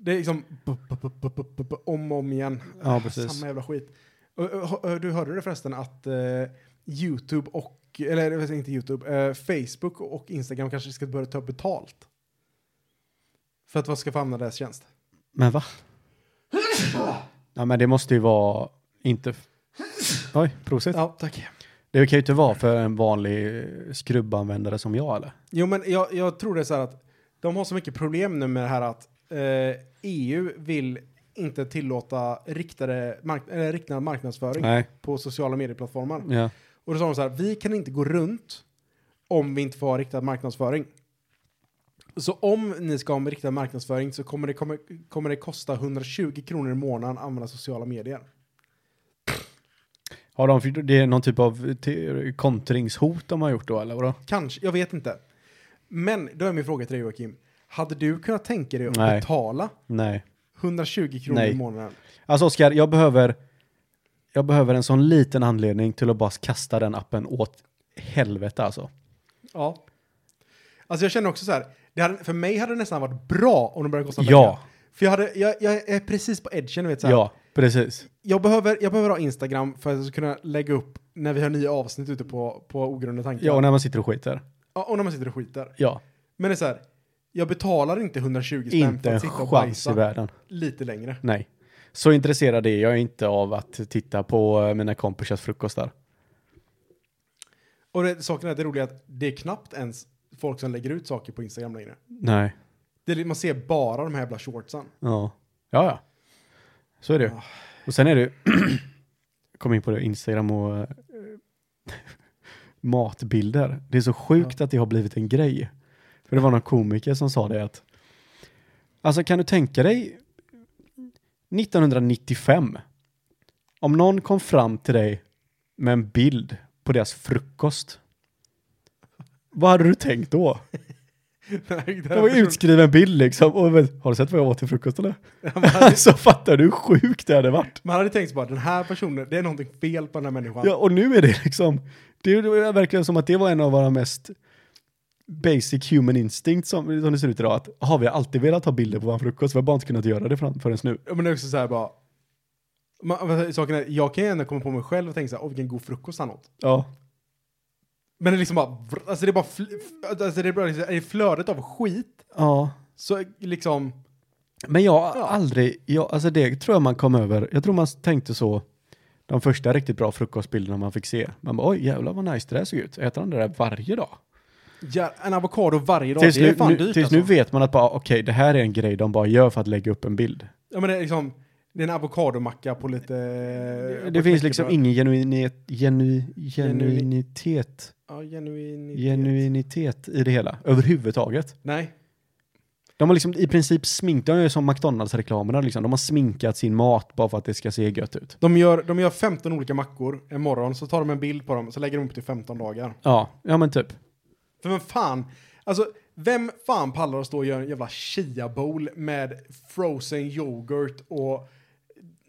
Speaker 2: Det är liksom bu- bu- bu- bu- bu- bu- bu- om och om igen.
Speaker 3: Ja,
Speaker 2: Ah,
Speaker 3: precis.
Speaker 2: Samma jävla skit. Och, och, och, Du hörde det förresten att eh, YouTube och, eller jag säger inte YouTube, eh, Facebook och Instagram kanske ska börja ta betalt. För att vad ska få använda deras tjänst?
Speaker 3: Men va? Ja, men det måste ju vara inte... Oj, prosit.
Speaker 2: Ja, tack.
Speaker 3: Det kan ju inte vara för en vanlig eh, skrubbanvändare som jag, eller?
Speaker 2: Jo, men jag, jag tror det är så här att de har så mycket problem nu med det här att eh, EU vill inte tillåta riktade mark- eller riktad marknadsföring
Speaker 3: Nej.
Speaker 2: på sociala medieplattformar.
Speaker 3: Ja.
Speaker 2: Och då sa de så här, vi kan inte gå runt om vi inte får ha riktad marknadsföring. Så om ni ska ha en riktad marknadsföring så kommer det, kommer, kommer det kosta 120 kronor i månaden att använda sociala medier.
Speaker 3: Har de, det är någon typ av te- kontringshot de har gjort då eller vadå?
Speaker 2: Kanske, jag vet inte. Men då är min fråga till dig Joakim. Hade du kunnat tänka dig att
Speaker 3: Nej.
Speaker 2: betala
Speaker 3: Nej.
Speaker 2: 120 kronor
Speaker 3: Nej.
Speaker 2: i månaden?
Speaker 3: Alltså Oskar, jag behöver, jag behöver en sån liten anledning till att bara kasta den appen åt helvete alltså.
Speaker 2: Ja. Alltså jag känner också så här. Det hade, för mig hade det nästan varit bra om det började kosta
Speaker 3: Ja.
Speaker 2: pengar. För jag, hade, jag, jag är precis på edgen, du vet så här.
Speaker 3: Ja, precis.
Speaker 2: Jag, behöver, jag behöver ha Instagram för att kunna lägga upp när vi har nya avsnitt ute på, på ogrundade tankar.
Speaker 3: Ja, och när man sitter och skiter.
Speaker 2: Ja, och när man sitter och skiter.
Speaker 3: Ja,
Speaker 2: Men det är så här. Jag betalar inte 120 spänn
Speaker 3: inte
Speaker 2: för
Speaker 3: en
Speaker 2: att sitta och
Speaker 3: chans i
Speaker 2: bajsa
Speaker 3: världen.
Speaker 2: lite längre.
Speaker 3: Nej. Så intresserad är jag inte av att titta på eh, mina kompisars frukostar.
Speaker 2: Och det, saken är det roliga är att det är knappt ens folk som lägger ut saker på Instagram längre.
Speaker 3: Nej.
Speaker 2: Det är, li- man ser bara de här jävla shortsen. <laughs>
Speaker 3: Ja. Ja, ja. Så är det ju.
Speaker 2: Ah.
Speaker 3: Och sen är det ju- <clears throat> kom in på det, Instagram och eh, <laughs> matbilder. Det är så sjukt att det har blivit en grej. För det var någon komiker som sa det att, alltså kan du tänka dig 1995, om någon kom fram till dig med en bild på deras frukost, vad hade du tänkt då? Det var ju utskriven bild liksom. Och, men, har du sett vad jag åt till frukost eller? <laughs> alltså fattar du hur sjukt det hade varit?
Speaker 2: Man hade tänkt sig bara den här personen, det är någonting fel på den här människan.
Speaker 3: Ja, och nu är det liksom, det är det är verkligen som att det var en av våra mest basic human instinct som, som det ser ut idag. Att, aha, vi har alltid velat ha bilder på vår frukost, vi har bara inte kunnat göra det fram förrän nu.
Speaker 2: Ja, Men det är också så här bara. Man, men saken är, jag kan ju ändå komma på mig själv och tänka så här, åh vilken god frukost han åt.
Speaker 3: Ja,
Speaker 2: Men det är liksom bara, vr- alltså det är bara, fl, f- alltså det är bara liksom, i flödet av skit
Speaker 3: ja.
Speaker 2: så liksom,
Speaker 3: Men jag har
Speaker 2: Ja.
Speaker 3: aldrig, jag, alltså det tror jag man kom över, jag tror man tänkte så de första riktigt bra frukostbilderna man fick se. Man bara, oj jävlar vad nice det där såg ut. Äter han det där varje dag?
Speaker 2: ja, en avokado varje dag,
Speaker 3: Tills,
Speaker 2: det är
Speaker 3: nu,
Speaker 2: fan
Speaker 3: nu,
Speaker 2: dyrt
Speaker 3: tills
Speaker 2: alltså.
Speaker 3: nu vet man att bara, okej, det här är en grej de bara gör för att lägga upp en bild.
Speaker 2: Ja men det är liksom, det är en avokadomacka på lite...
Speaker 3: Det,
Speaker 2: Det,
Speaker 3: finns liksom ingen genuinitet, genu, genuinitet,
Speaker 2: Ja, genuinitet.
Speaker 3: genuinitet i det hela, överhuvudtaget.
Speaker 2: Nej.
Speaker 3: De har liksom i princip sminkat, de är som McDonalds-reklamerna liksom. De har sminkat sin mat bara för att det ska se gött ut.
Speaker 2: De gör, de gör 15 olika mackor en morgon, så tar de en bild på dem, så lägger de upp till 15 dagar.
Speaker 3: Ja, ja men typ.
Speaker 2: För vem fan, alltså vem fan pallar att stå och göra en jävla chia bowl med frozen yoghurt och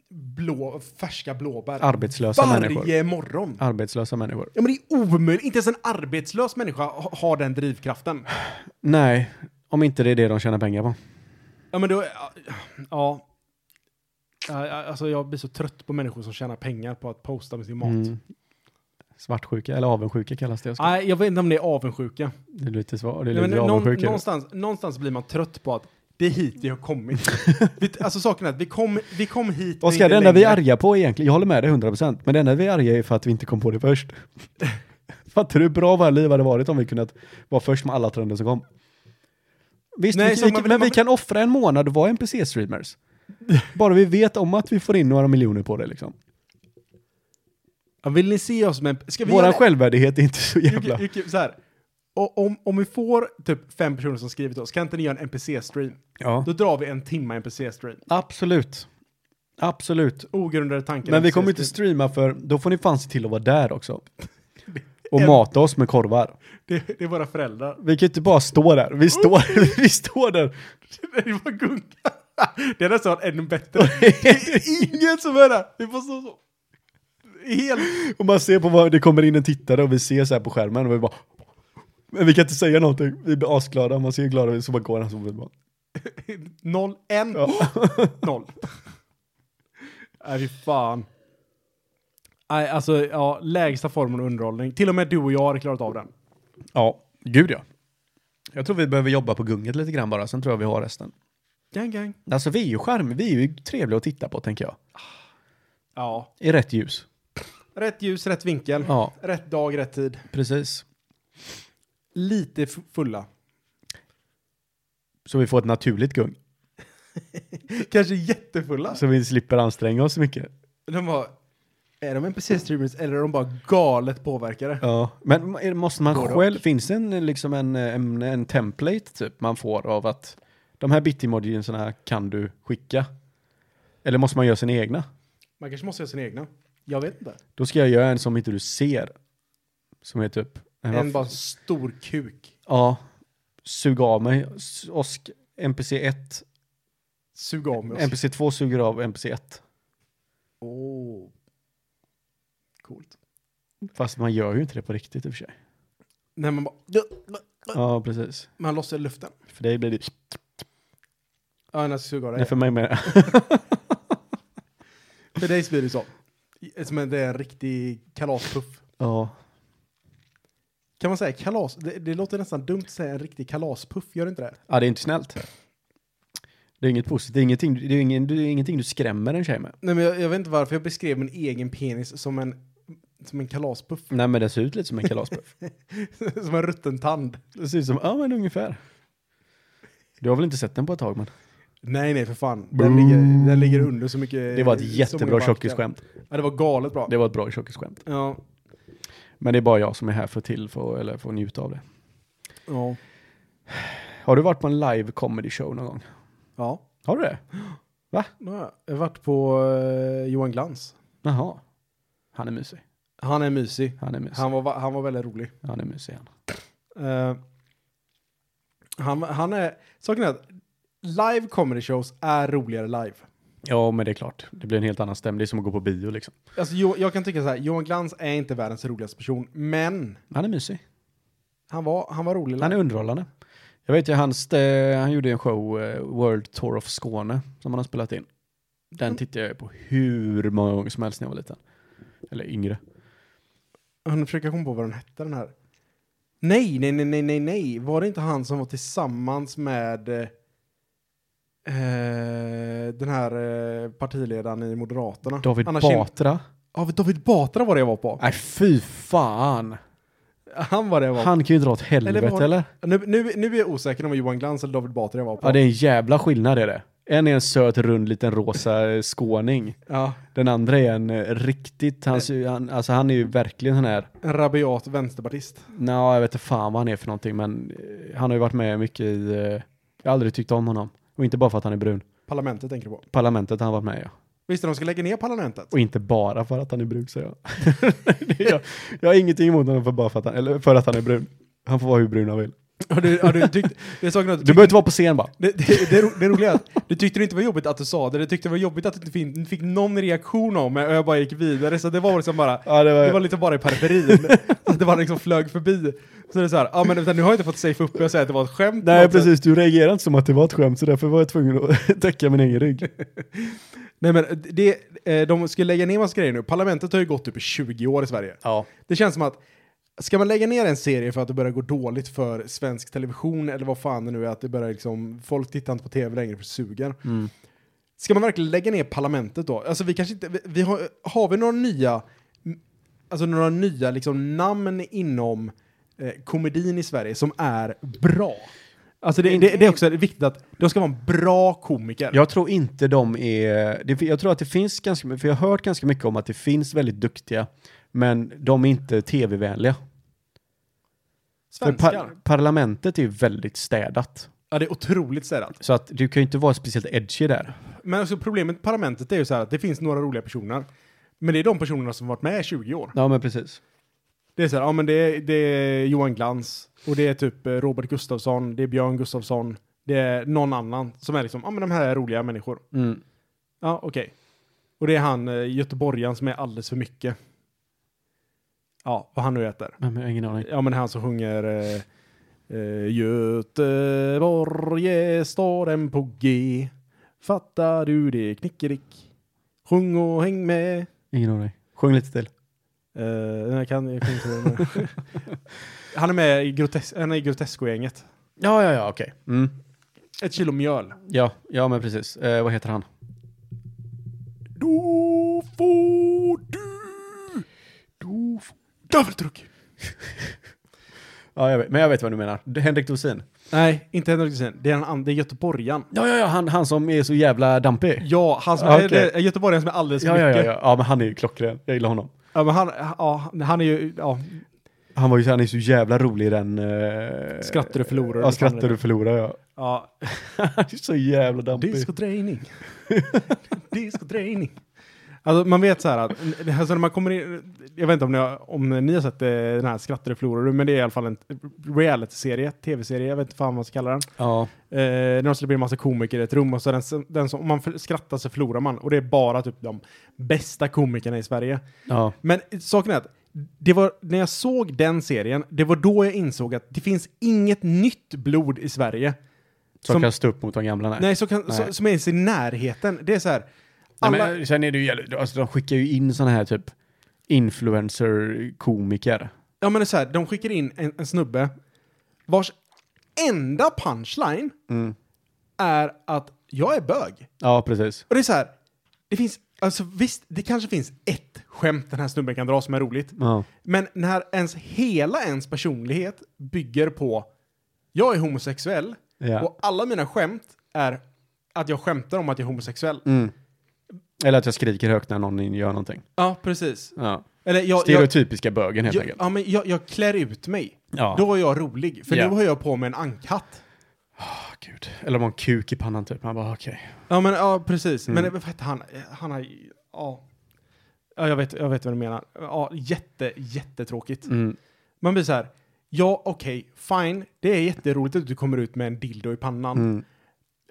Speaker 2: blå, färska blåbär?
Speaker 3: Arbetslösa människor.
Speaker 2: Varje morgon.
Speaker 3: Arbetslösa människor.
Speaker 2: Ja men det är omöjligt, inte ens en arbetslös människa ha- har den drivkraften.
Speaker 3: Nej, om inte det är det de tjänar pengar på.
Speaker 2: Ja, men då... ja, Ja. Ja, Alltså jag blir så trött på människor som tjänar pengar på att posta med sin mat.
Speaker 3: Mm. Svartsjuka, eller avundsjuka kallas det. Oskar.
Speaker 2: Nej, jag vet inte om det är avundsjuka.
Speaker 3: Det är lite, svar, det är
Speaker 2: Ah. Nej, men
Speaker 3: lite
Speaker 2: någon,
Speaker 3: avundsjuka.
Speaker 2: någonstans, någonstans blir man trött på att det är hit vi har kommit. vi, alltså saken är att vi kom, vi kom hit... men
Speaker 3: Oskar,
Speaker 2: inte
Speaker 3: det enda vi är
Speaker 2: längre.
Speaker 3: arga på egentligen, jag håller med dig 100%, men det enda vi är arga är för att vi inte kom på
Speaker 2: <laughs>
Speaker 3: det först. Fattar du hur bra våra liv hade varit om vi kunnat vara först med alla trender som kom? Visst,
Speaker 2: Nej,
Speaker 3: vi,
Speaker 2: så
Speaker 3: vi,
Speaker 2: man vill-
Speaker 3: men
Speaker 2: man
Speaker 3: vi
Speaker 2: vill-
Speaker 3: kan offra en månad och vara
Speaker 2: <laughs>
Speaker 3: NPC-streamers. Bara vi vet om att vi får in några miljoner på det liksom.
Speaker 2: Ja, Vill ni se oss med... Ska vi
Speaker 3: Våran
Speaker 2: göra-
Speaker 3: självvärdighet är inte så
Speaker 2: Jocke-
Speaker 3: jävla...
Speaker 2: Jocke, så här. Och om, om vi får typ fem personer som skrivit till oss, kan inte ni göra en NPC-stream?
Speaker 3: Ja.
Speaker 2: Då drar vi en timme NPC-stream.
Speaker 3: Absolut. Absolut.
Speaker 2: Ogrundade tankar.
Speaker 3: Men vi kommer inte
Speaker 2: NPC-stream.
Speaker 3: streama för då får ni fan se till att vara
Speaker 2: <laughs>
Speaker 3: där också. Och mata oss med korvar.
Speaker 2: Det, det är våra föräldrar. <laughs>
Speaker 3: Vi kan ju inte bara stå där. Vi står, <laughs> vi står där
Speaker 2: Det var gunka. <laughs> Det är nästan ännu
Speaker 3: <laughs>
Speaker 2: bättre. Det är ingen som är där. Vi får stå så. Helt.
Speaker 3: Och man ser på vad det kommer in en tittare och vi ser så här på skärmen och vi bara men vi kan inte säga någonting, vi blir asglada, man ser hur glada vi är, så bara går han så blir det bara.
Speaker 2: Noll, en,
Speaker 3: Ja.
Speaker 2: <laughs> noll. Nej, fy fan. Nej, alltså, ja, lägsta formen av underhållning. Till och med du och jag har klarat av den.
Speaker 3: ja, gud ja. Jag tror vi behöver jobba på gunget lite grann bara, sen tror jag vi har resten.
Speaker 2: Gang, gang.
Speaker 3: Alltså vi är ju charm, vi är ju trevliga att titta på tänker jag.
Speaker 2: Ja.
Speaker 3: I rätt ljus.
Speaker 2: Rätt ljus, rätt vinkel.
Speaker 3: Ja,
Speaker 2: Rätt dag, rätt tid.
Speaker 3: precis.
Speaker 2: Lite f- fulla.
Speaker 3: Så vi får ett naturligt gung.
Speaker 2: Kanske jättefulla.
Speaker 3: Så vi slipper anstränga oss så mycket.
Speaker 2: De var... Är de NPC-streamers eller är de bara galet påverkade?
Speaker 3: Ja. Men är- måste man
Speaker 2: Både och.
Speaker 3: själv, finns det en, liksom en, en, en template typ man får av att de här bitemojierna kan du skicka? Eller måste man göra sina egna?
Speaker 2: Man kanske måste göra sina egna. Jag vet inte.
Speaker 3: Då ska jag göra en som inte du ser. Som är typ... En,
Speaker 2: En bara stor kuk.
Speaker 3: Ja. Sug av mig. S- Osk NPC1.
Speaker 2: Sug av mig. oss.
Speaker 3: NPC2 suger av NPC1.
Speaker 2: Åh. Coolt.
Speaker 3: Fast man gör ju inte det på riktigt i och för sig.
Speaker 2: Nej, man bara...
Speaker 3: Ja, precis.
Speaker 2: Man lossar luften.
Speaker 3: För dig blir det...
Speaker 2: Ja, när jag suger av dig.
Speaker 3: Nej, för mig menar jag.
Speaker 2: För dig så blir det så. Som en, det är en riktig kalaspuff.
Speaker 3: Ja.
Speaker 2: Kan man säga kalas? Det, det låter nästan dumt att säga en riktig kalaspuff, gör det inte det?
Speaker 3: ja, det är inte snällt. Det är inget positivt. Det är ingenting, det är ingen, det är ingenting du skrämmer en tjej med.
Speaker 2: Nej, men jag, jag vet inte varför jag beskrev min egen penis som en, som en kalaspuff. <laughs>
Speaker 3: Nej, men den ser ut lite som en kalaspuff.
Speaker 2: som en rutten tand.
Speaker 3: <laughs> det ser ut som... Ja, men ungefär. Eh, Du har väl inte sett den på ett tag, men.
Speaker 2: Nej, nej, för fan. Den, ligger, den ligger under så mycket.
Speaker 3: Det var
Speaker 2: så
Speaker 3: ett
Speaker 2: många
Speaker 3: jättebra
Speaker 2: backar.
Speaker 3: tjockisskämt.
Speaker 2: Ja, det var galet bra.
Speaker 3: Det var ett bra tjockisskämt.
Speaker 2: Ja,
Speaker 3: Men det är bara jag som är här för till för, eller för att njuta av det.
Speaker 2: ja,
Speaker 3: Har du varit på en live comedy show någon gång?
Speaker 2: ja.
Speaker 3: Har du det?
Speaker 2: Ja, Jag har varit på eh, Johan Glans.
Speaker 3: Jaha. Han är mysig.
Speaker 2: Han är mysig.
Speaker 3: Han är mysig.
Speaker 2: Han var, va- han var väldigt rolig.
Speaker 3: Han är mysig han.
Speaker 2: Eh, han, han är, saken är att live comedy shows är roligare live.
Speaker 3: Ja, men det är klart. Det blir en helt annan stämning. Det är som att gå på bio liksom.
Speaker 2: Alltså, jo, jag kan tycka så här, Johan Glans är inte världens roligaste person, men
Speaker 3: Han är mysig.
Speaker 2: han var, han var rolig. live.
Speaker 3: Han är underhållande. Jag vet ju hans, eh, han gjorde en show, eh, World Tour of Skåne, som han har spelat in. Den tittade jag på hur många gånger som helst när jag var liten. Eller yngre.
Speaker 2: Han försöker komma på vad den hette, den här. Nej, nej, nej, nej, nej, nej. Var det inte han som var tillsammans med eh, eh, den här eh, partiledaren i Moderaterna?
Speaker 3: David
Speaker 2: Anna Kinberg-
Speaker 3: Batra.
Speaker 2: Ja, David Batra var det jag var på.
Speaker 3: Nej, fy fan.
Speaker 2: Han var det jag var på.
Speaker 3: Han kan ju dra åt helvete
Speaker 2: Eller
Speaker 3: eller?
Speaker 2: var- Nu, nu, nu är jag osäker om det var Johan Glans eller David Batra jag var på.
Speaker 3: Ja, det är en jävla skillnad är det. En är en söt, rund, liten rosa eh, skåning.
Speaker 2: Ja,
Speaker 3: Den andra är en eh, riktigt, han, ser ju- han, alltså han är ju verkligen sån här,
Speaker 2: en rabiat vänsterpartist.
Speaker 3: Nå, jag vet inte fan vad han är för någonting men eh, han har ju varit med mycket i, eh, jag har aldrig tyckt om honom. Och inte bara för att han är brun.
Speaker 2: Parlamentet tänker du på.
Speaker 3: Parlamentet har han varit med i, ja.
Speaker 2: Visste de ska lägga ner parlamentet?
Speaker 3: Och inte bara för att han är brun säger jag. <laughs> Det är jag. Jag har ingenting emot honom för, bara för, att han, eller för att han är brun. Han får vara hur brun han vill.
Speaker 2: Har du, har du <laughs> tyckt, det, är saken att
Speaker 3: Du
Speaker 2: du
Speaker 3: behöver inte vara på scen bara.
Speaker 2: det, det, det, ro- det roliga är att du tyckte det inte var jobbigt att du sa det, du tyckte det var jobbigt att du inte fin- fick någon reaktion om mig och jag bara gick vidare. Så det var liksom bara,
Speaker 3: Ja, det var,
Speaker 2: det var liksom bara i periferin. så det bara liksom flög förbi. Så det är så här, ja men vänta, nu har jag inte fått safe upp och säga att det var ett skämt.
Speaker 3: Nej
Speaker 2: Något-
Speaker 3: precis, du reagerade inte som att det var ett skämt så därför var jag tvungen att <laughs> täcka min egen rygg.
Speaker 2: Nej men det, eh, de ska lägga ner massa grejer nu. Parlamentet har ju gått upp i 20 år i Sverige.
Speaker 3: Ja.
Speaker 2: Det känns som att ska man lägga ner en serie för att det börjar gå dåligt för svensk television eller vad fan det nu är att det börjar liksom, folk tittar inte på tv längre för sugen.
Speaker 3: Mm.
Speaker 2: Ska man verkligen lägga ner parlamentet då? Alltså vi kanske inte, vi, vi har, har vi några nya, alltså några nya liksom namn inom eh, komedin i Sverige som är bra? Alltså det, det, det är också viktigt att de ska vara en bra komiker.
Speaker 3: Jag tror inte de är, det, jag tror att det finns ganska mycket, för jag har hört ganska mycket om att det finns väldigt duktiga, men de är inte tv-vänliga. För
Speaker 2: Svenskar.
Speaker 3: par, parlamentet är ju väldigt städat.
Speaker 2: Ja, det är otroligt städat.
Speaker 3: Så att du kan ju inte vara speciellt edgy där.
Speaker 2: Men alltså problemet med parlamentet är ju så här att det finns några roliga personer. Men det är de personerna som varit med i 20 år.
Speaker 3: Ja men precis.
Speaker 2: Det är så här, ja men det är, det är Johan Glans och det är typ eh, Robert Gustafsson, det är Björn Gustafsson, det är någon annan som är liksom, ja men de här är roliga människor.
Speaker 3: Mm.
Speaker 2: Ja, okej. Och det är han eh, göteborgaren som är alldeles för mycket. Ja, vad han nu heter.
Speaker 3: Men, men, jag har ingen aning.
Speaker 2: Ja men han som sjunger eh, eh, Göteborg är staden på G. Fattar du det knickedick? Sjung och häng med.
Speaker 3: Ingen aning. Sjung lite till.
Speaker 2: Eh, nej, jag kan, jag kan inte det. <laughs> han är med i, grotes han är i Grotesco-gänget.
Speaker 3: Ja, ja, ja, okej. Mm.
Speaker 2: Ett kilo mjöl.
Speaker 3: Ja, ja men precis. Eh, vad heter han?
Speaker 2: Då får du... Då får... Daveltruck!
Speaker 3: Ja, jag vet, men jag vet vad du menar. Det- Henrik Dorsin.
Speaker 2: Nej, inte Henrik Dorsin. Det är, en an- det är göteborgaren.
Speaker 3: Ja, ja, ja, han, han som är så jävla dampig.
Speaker 2: Ja, han som
Speaker 3: Ja,
Speaker 2: är,
Speaker 3: okej.
Speaker 2: det är göteborgaren som är alldeles för
Speaker 3: Ja, ja,
Speaker 2: mycket.
Speaker 3: ja, ja. ja, men han är ju klockren. Jag gillar honom.
Speaker 2: Ja, men han, ja, han är ju... Ja,
Speaker 3: Han var ju han är så jävla rolig i den... Eh...
Speaker 2: Skrattar du förlorar.
Speaker 3: Ja, skrattar du förlorar ja.
Speaker 2: Ja.
Speaker 3: Han är så jävla dampig.
Speaker 2: <laughs> Discodrejning. Discodrejning. Alltså man vet så här att, alltså när man kommer in, jag vet inte om ni har, om ni har sett eh, den här Skrattar du förlorar du, men det är i alla fall en reality-serie, tv-serie, jag vet inte fan vad man ska kalla den.
Speaker 3: Ja.
Speaker 2: Eh, när de släpper in massa komiker i ett rum och så den, som- den som, om man för- skrattar så förlorar man. Och det är bara typ de bästa komikerna i Sverige.
Speaker 3: ja.
Speaker 2: Men saken är att det var, när jag såg den serien, det var då jag insåg att det finns inget nytt blod i Sverige.
Speaker 3: Som,
Speaker 2: Som-
Speaker 3: kan stå upp mot de gamla? Nej.
Speaker 2: Nej, som, kan,
Speaker 3: Nej.
Speaker 2: Så, som ens är i närheten. Det är så här, alla,
Speaker 3: Nej, men sen är det ju jävligt- alltså de skickar ju in såna här typ influencer-komiker.
Speaker 2: ja, men det är så här, de skickar in en, en snubbe vars enda punchline
Speaker 3: Mm.
Speaker 2: är att jag är bög.
Speaker 3: Ja, precis.
Speaker 2: Och det är så här, det finns, alltså visst, det kanske finns ett skämt den här snubben kan dra som är roligt.
Speaker 3: Ja.
Speaker 2: Men när ens hela ens personlighet bygger på jag är homosexuell
Speaker 3: Ja.
Speaker 2: och alla mina skämt är att jag skämtar om att jag är homosexuell.
Speaker 3: Mm. Eller att jag skriker högt när någon gör någonting.
Speaker 2: Ja, precis.
Speaker 3: Ja.
Speaker 2: Eller jag, jag,
Speaker 3: Stereotypiska bögen helt
Speaker 2: jag,
Speaker 3: enkelt.
Speaker 2: ja, men jag, jag klär ut mig.
Speaker 3: Ja.
Speaker 2: Då är jag rolig, för
Speaker 3: Ja.
Speaker 2: nu har jag på mig en ankhatt.
Speaker 3: Ah, Gud. Eller om man har en kuk i pannan typ. Man bara okej.
Speaker 2: Ja, men ja, precis.
Speaker 3: Mm.
Speaker 2: Men vad heter han, han har, ja. Ja, jag vet, jag vet vad du menar. Ja, jätte, jättetråkigt.
Speaker 3: Mm.
Speaker 2: Man blir så här, ja okej, fine, det är jätteroligt att du kommer ut med en dildo i pannan.
Speaker 3: Mm.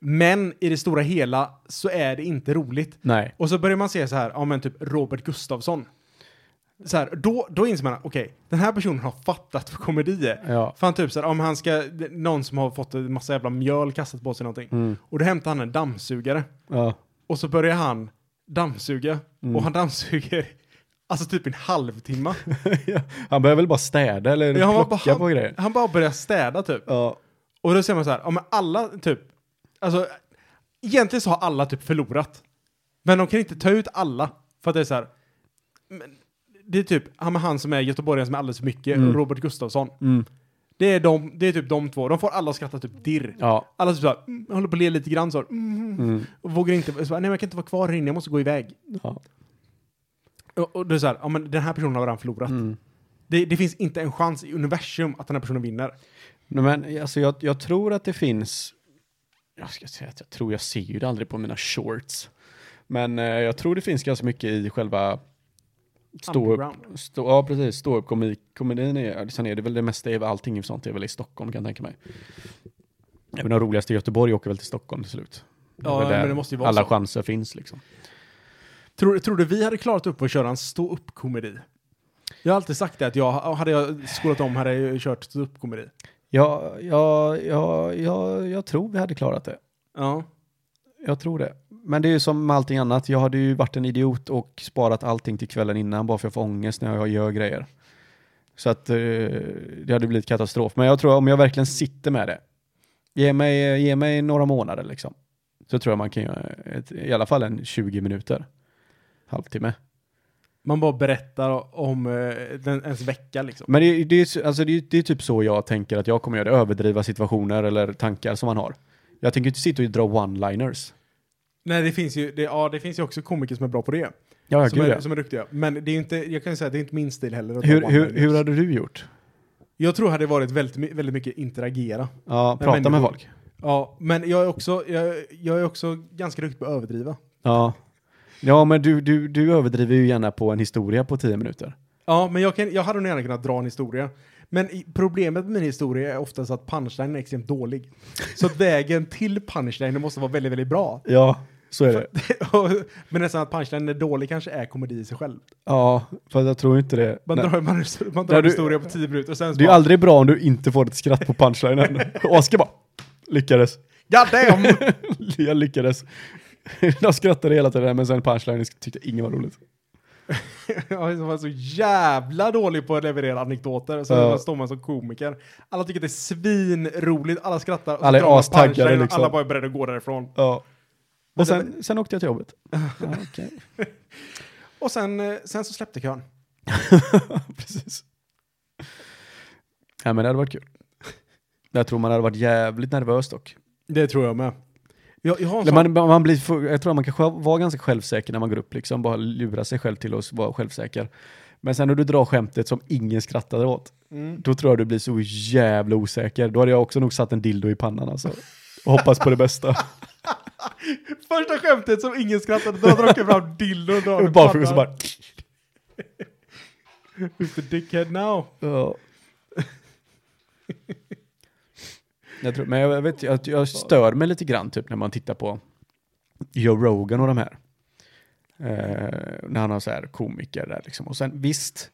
Speaker 2: Men i det stora hela så är det inte roligt.
Speaker 3: Nej.
Speaker 2: Och så börjar man se så här, ja men typ Robert Gustafsson. Så här, då, då inser man, okej, den här personen har fattat vad komedi är.
Speaker 3: Ja.
Speaker 2: Fan typ så här, om han ska, någon som har fått en massa jävla mjöl kastat på sig någonting.
Speaker 3: Mm.
Speaker 2: Och då hämtar han en dammsugare.
Speaker 3: Ja.
Speaker 2: Och så börjar han dammsuga.
Speaker 3: Mm.
Speaker 2: Och han dammsuger, alltså typ en
Speaker 3: <laughs>
Speaker 2: halvtimme.
Speaker 3: Han behöver väl bara städa eller
Speaker 2: Ja, han, bara,
Speaker 3: plocka på
Speaker 2: han,
Speaker 3: grejer.
Speaker 2: han bara börjar städa typ.
Speaker 3: Ja.
Speaker 2: Och då ser man så här, ja men alla typ, alltså egentligen så har alla typ förlorat. Men de kan inte ta ut alla, för att det är så här, men, det är typ han, med han som är göteborgaren som är alldeles för mycket,
Speaker 3: Mm.
Speaker 2: och Robert Gustafsson. Det, är de, det är typ de två, de får alla skratta typ dirr.
Speaker 3: Ja.
Speaker 2: Alla typ så här, mm, håller på att le lite grann så här, mm, och vågar inte, så här, nej men jag kan inte vara kvar här inne, jag måste gå iväg.
Speaker 3: ja.
Speaker 2: Och, och det är så här, ja men den här personen har redan förlorat.
Speaker 3: Mm.
Speaker 2: Det, det finns inte en chans i universum att den här personen vinner.
Speaker 3: Nej, Men alltså jag, jag tror att det finns. Jag ska säga att jag tror jag ser ju det aldrig på mina shorts. Men eh, jag tror det finns ganska mycket i själva stå upp,
Speaker 2: Underground.
Speaker 3: stå, ja precis, stå upp komik, komedin är, sen är det väl det mesta, är väl allting sånt är väl i Stockholm kan jag tänka mig. Även de roligaste i Göteborg åker väl till Stockholm till slut. Det är
Speaker 2: Ja,
Speaker 3: väl där
Speaker 2: men det måste ju vara
Speaker 3: Alla
Speaker 2: så.
Speaker 3: chanser finns liksom.
Speaker 2: Tror, tror du vi hade klarat upp att köra en stå upp komedi Jag har alltid sagt det att jag, hade jag skolat om hade jag kört stå upp komedi
Speaker 3: Ja, ja, ja, ja, jag tror vi hade klarat det.
Speaker 2: Ja.
Speaker 3: Jag tror det. Men det är ju som med allting annat. Jag hade ju varit en idiot och sparat allting till kvällen innan bara för att jag får ångest när jag gör grejer. Så att eh, det hade blivit katastrof. Men jag tror om jag verkligen sitter med det, ge mig, ge mig några månader liksom, så tror jag man kan göra ett, i alla fall en 20 minuter, halvtimme.
Speaker 2: Man bara berättar om eh, den, ens vecka liksom.
Speaker 3: Men det, det, är, så- alltså det, är- det är typ så jag tänker att jag kommer göra det, överdriva situationer eller tankar som man har. Jag tänker inte sitta och dra one-liners.
Speaker 2: Nej, det finns ju, det, ja, det finns ju också komiker som är bra på det.
Speaker 3: Ja,
Speaker 2: som, är, som är duktiga. Men det är ju inte, jag kan ju säga att det är inte min stil heller. att
Speaker 3: Hur,
Speaker 2: ta
Speaker 3: hur,
Speaker 2: one-liners.
Speaker 3: hur hade du gjort?
Speaker 2: Jag tror det hade varit väldigt, my- väldigt mycket interagera.
Speaker 3: Ja,
Speaker 2: Med
Speaker 3: prata med
Speaker 2: människor.
Speaker 3: folk.
Speaker 2: Ja, men jag är också, jag, jag är också ganska duktig på att överdriva.
Speaker 3: Ja, ja men du, du, du överdriver ju gärna på en historia på tio minuter.
Speaker 2: Ja, men jag, kan, jag hade nog gärna kunnat dra en historia. Men i- problemet med min historia är oftast att punchlinen är extremt dålig. Så att vägen till punchlinen måste vara väldigt, väldigt bra.
Speaker 3: Ja, så är det.
Speaker 2: <laughs> Och- men nästan att punchlinen är dålig kanske är komedi i sig själv.
Speaker 3: Ja, för jag tror inte det.
Speaker 2: Man
Speaker 3: Nej.
Speaker 2: drar, man, man drar
Speaker 3: Nej,
Speaker 2: en
Speaker 3: du-
Speaker 2: historia på tio minuter och sen så
Speaker 3: Det är ju
Speaker 2: bara,
Speaker 3: aldrig bra om du inte får ett skratt på <laughs> punchlinen. Oskar bara, lyckades. <laughs>
Speaker 2: God damn!
Speaker 3: Jag lyckades. <laughs> Jag skrattade hela tiden, men sen punchlinen tyckte ingen var roligt.
Speaker 2: <laughs> Jag var så jävla dålig på att leverera anekdoter. Så
Speaker 3: Ja.
Speaker 2: uh. står man som komiker. Alla tycker att det är svinroligt, alla skrattar. Och så
Speaker 3: Alla är
Speaker 2: drar man
Speaker 3: astaggade,
Speaker 2: punchlinen och
Speaker 3: liksom.
Speaker 2: Alla bara är beredda att gå därifrån.
Speaker 3: Ja. Och sen, sen åkte jag till jobbet. <laughs> Ja, okej. <laughs>
Speaker 2: Och sen, eh, sen så släppte kön.
Speaker 3: Precis. Ja, men det hade varit kul. Jag tror man hade varit jävligt nervös dock.
Speaker 2: Det tror jag med. Jag, jag har en
Speaker 3: Eller
Speaker 2: sån-
Speaker 3: Man, man blir, för- jag tror att man kan själv, vara ganska självsäker när man går upp, liksom bara lura sig själv till att vara självsäker. Men sen när du drar skämtet som ingen skrattade åt, då tror jag du blir så jävla osäker. Då hade jag också nog satt en dildo i pannan alltså. Och hoppas på det bästa.
Speaker 2: Första skämtet som ingen skrattade, då drar de fram dildon och drar den
Speaker 3: <laughs> Bara för att så
Speaker 2: pannan.
Speaker 3: bara...
Speaker 2: Who's the dickhead now?
Speaker 3: Ja. jag tror, men jag vet att jag stör mig lite grann typ när man tittar på Joe Rogan och de här. Eh, när han har så här komiker där liksom. Och sen visst,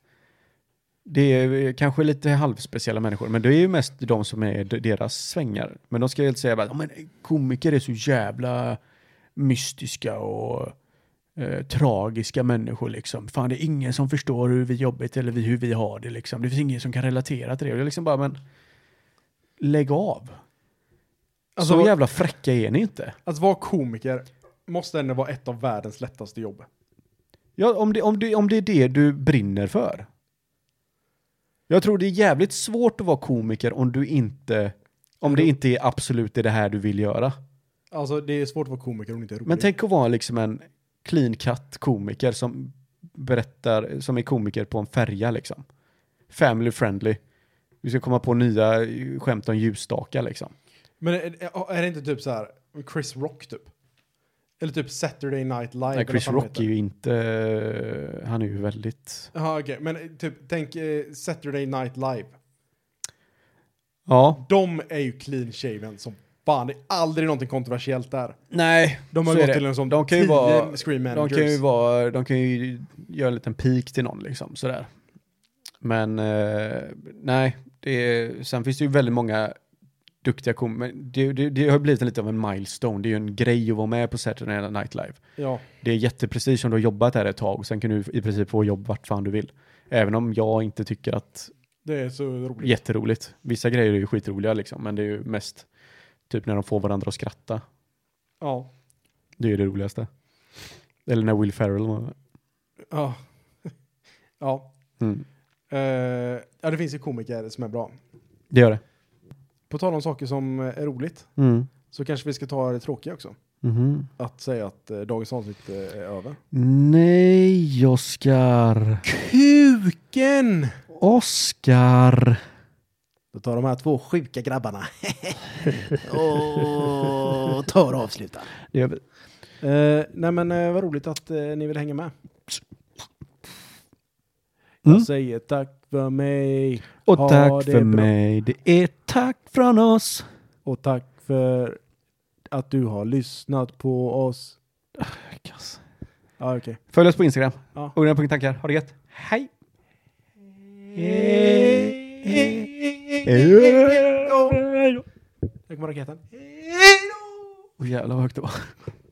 Speaker 3: det är kanske lite halvspeciella människor, men det är ju mest de som är d- deras svängar. Men de ska ju inte säga bara, "Ja, men komiker är så jävla mystiska och eh, tragiska människor liksom. Fan, det är ingen som förstår hur vi jobbigt eller vi, hur vi har det liksom. Det finns ingen som kan relatera till det. Och det är liksom bara, men lägg av.
Speaker 2: Alltså-
Speaker 3: så jävla fräcka är ni inte.
Speaker 2: Att Alltså, vara komiker måste ändå vara ett av världens lättaste jobb.
Speaker 3: Ja, om, det, om, det, om det är det du brinner för. Jag tror det är jävligt svårt att vara komiker om du inte, om det inte är absolut det här du vill göra.
Speaker 2: Alltså det är svårt att vara komiker om du inte är rolig.
Speaker 3: Men tänk att vara liksom en clean cut komiker som berättar, som är komiker på en färja liksom. Family friendly. Vi ska komma på nya eh, skämt om ljusstakar liksom.
Speaker 2: Men är, är det inte typ så här Chris Rock typ? Eller typ Saturday Night Live?
Speaker 3: Nej,
Speaker 2: eller
Speaker 3: Chris
Speaker 2: vad fan
Speaker 3: Rock
Speaker 2: heter.
Speaker 3: är ju inte, eh, han är ju väldigt,
Speaker 2: Ja, okej. Men eh, typ, tänk eh, Saturday Night Live.
Speaker 3: ja.
Speaker 2: De är ju clean shaven som fan. Det är aldrig någonting kontroversiellt där.
Speaker 3: Nej,
Speaker 2: De har
Speaker 3: så är
Speaker 2: gått
Speaker 3: det.
Speaker 2: till en sån eh,
Speaker 3: de kan ju vara,
Speaker 2: screen
Speaker 3: De
Speaker 2: managers.
Speaker 3: kan ju vara, de kan ju göra en liten pik till någon liksom sådär. Men eh, nej, det är, sen finns det ju väldigt många duktiga komiker. Det, det, det har blivit en lite av en milestone. Det är ju en grej att vara med på Saturday Night Live.
Speaker 2: Ja.
Speaker 3: Det är jätteprestige om du har jobbat här ett tag. Sen kan du i princip få jobb vart fan du vill. Även om jag inte tycker att
Speaker 2: Det är så roligt.
Speaker 3: jätteroligt. Vissa grejer är ju skitroliga liksom, men det är ju mest typ när de får varandra att skratta.
Speaker 2: Ja.
Speaker 3: Det är det roligaste. Eller när Will Ferrell var med.
Speaker 2: Ja. <laughs> ja.
Speaker 3: mm.
Speaker 2: Eh, ja, det finns ju komiker som är bra.
Speaker 3: Det gör det.
Speaker 2: På tal om saker som eh, är roligt
Speaker 3: Mm. Mhm.
Speaker 2: så kanske vi ska ta det tråkiga också. Att säga att eh, dagens avsnitt eh, är över.
Speaker 3: Nej, Oskar.
Speaker 2: Kuken!
Speaker 3: Oskar.
Speaker 2: Då tar de här två sjuka grabbarna. <laughs>
Speaker 4: Och tar och avslutar.
Speaker 3: Det gör vi.
Speaker 2: Eh, nej men eh, vad roligt att eh, ni vill hänga med.
Speaker 3: Mm.
Speaker 2: Jag säger tack för mig.
Speaker 3: Och
Speaker 2: Ja,
Speaker 3: tack
Speaker 2: det är
Speaker 3: för
Speaker 2: bra.
Speaker 3: mig. Det är tack från oss.
Speaker 2: Och tack för att du har lyssnat på oss. Ja, okej.
Speaker 3: Följ oss på Instagram.
Speaker 2: Ja.
Speaker 3: Ugna.tankar. Ha det gött. Hej.
Speaker 2: Där kommer raketen.
Speaker 3: Åh jävlar vad högt det var.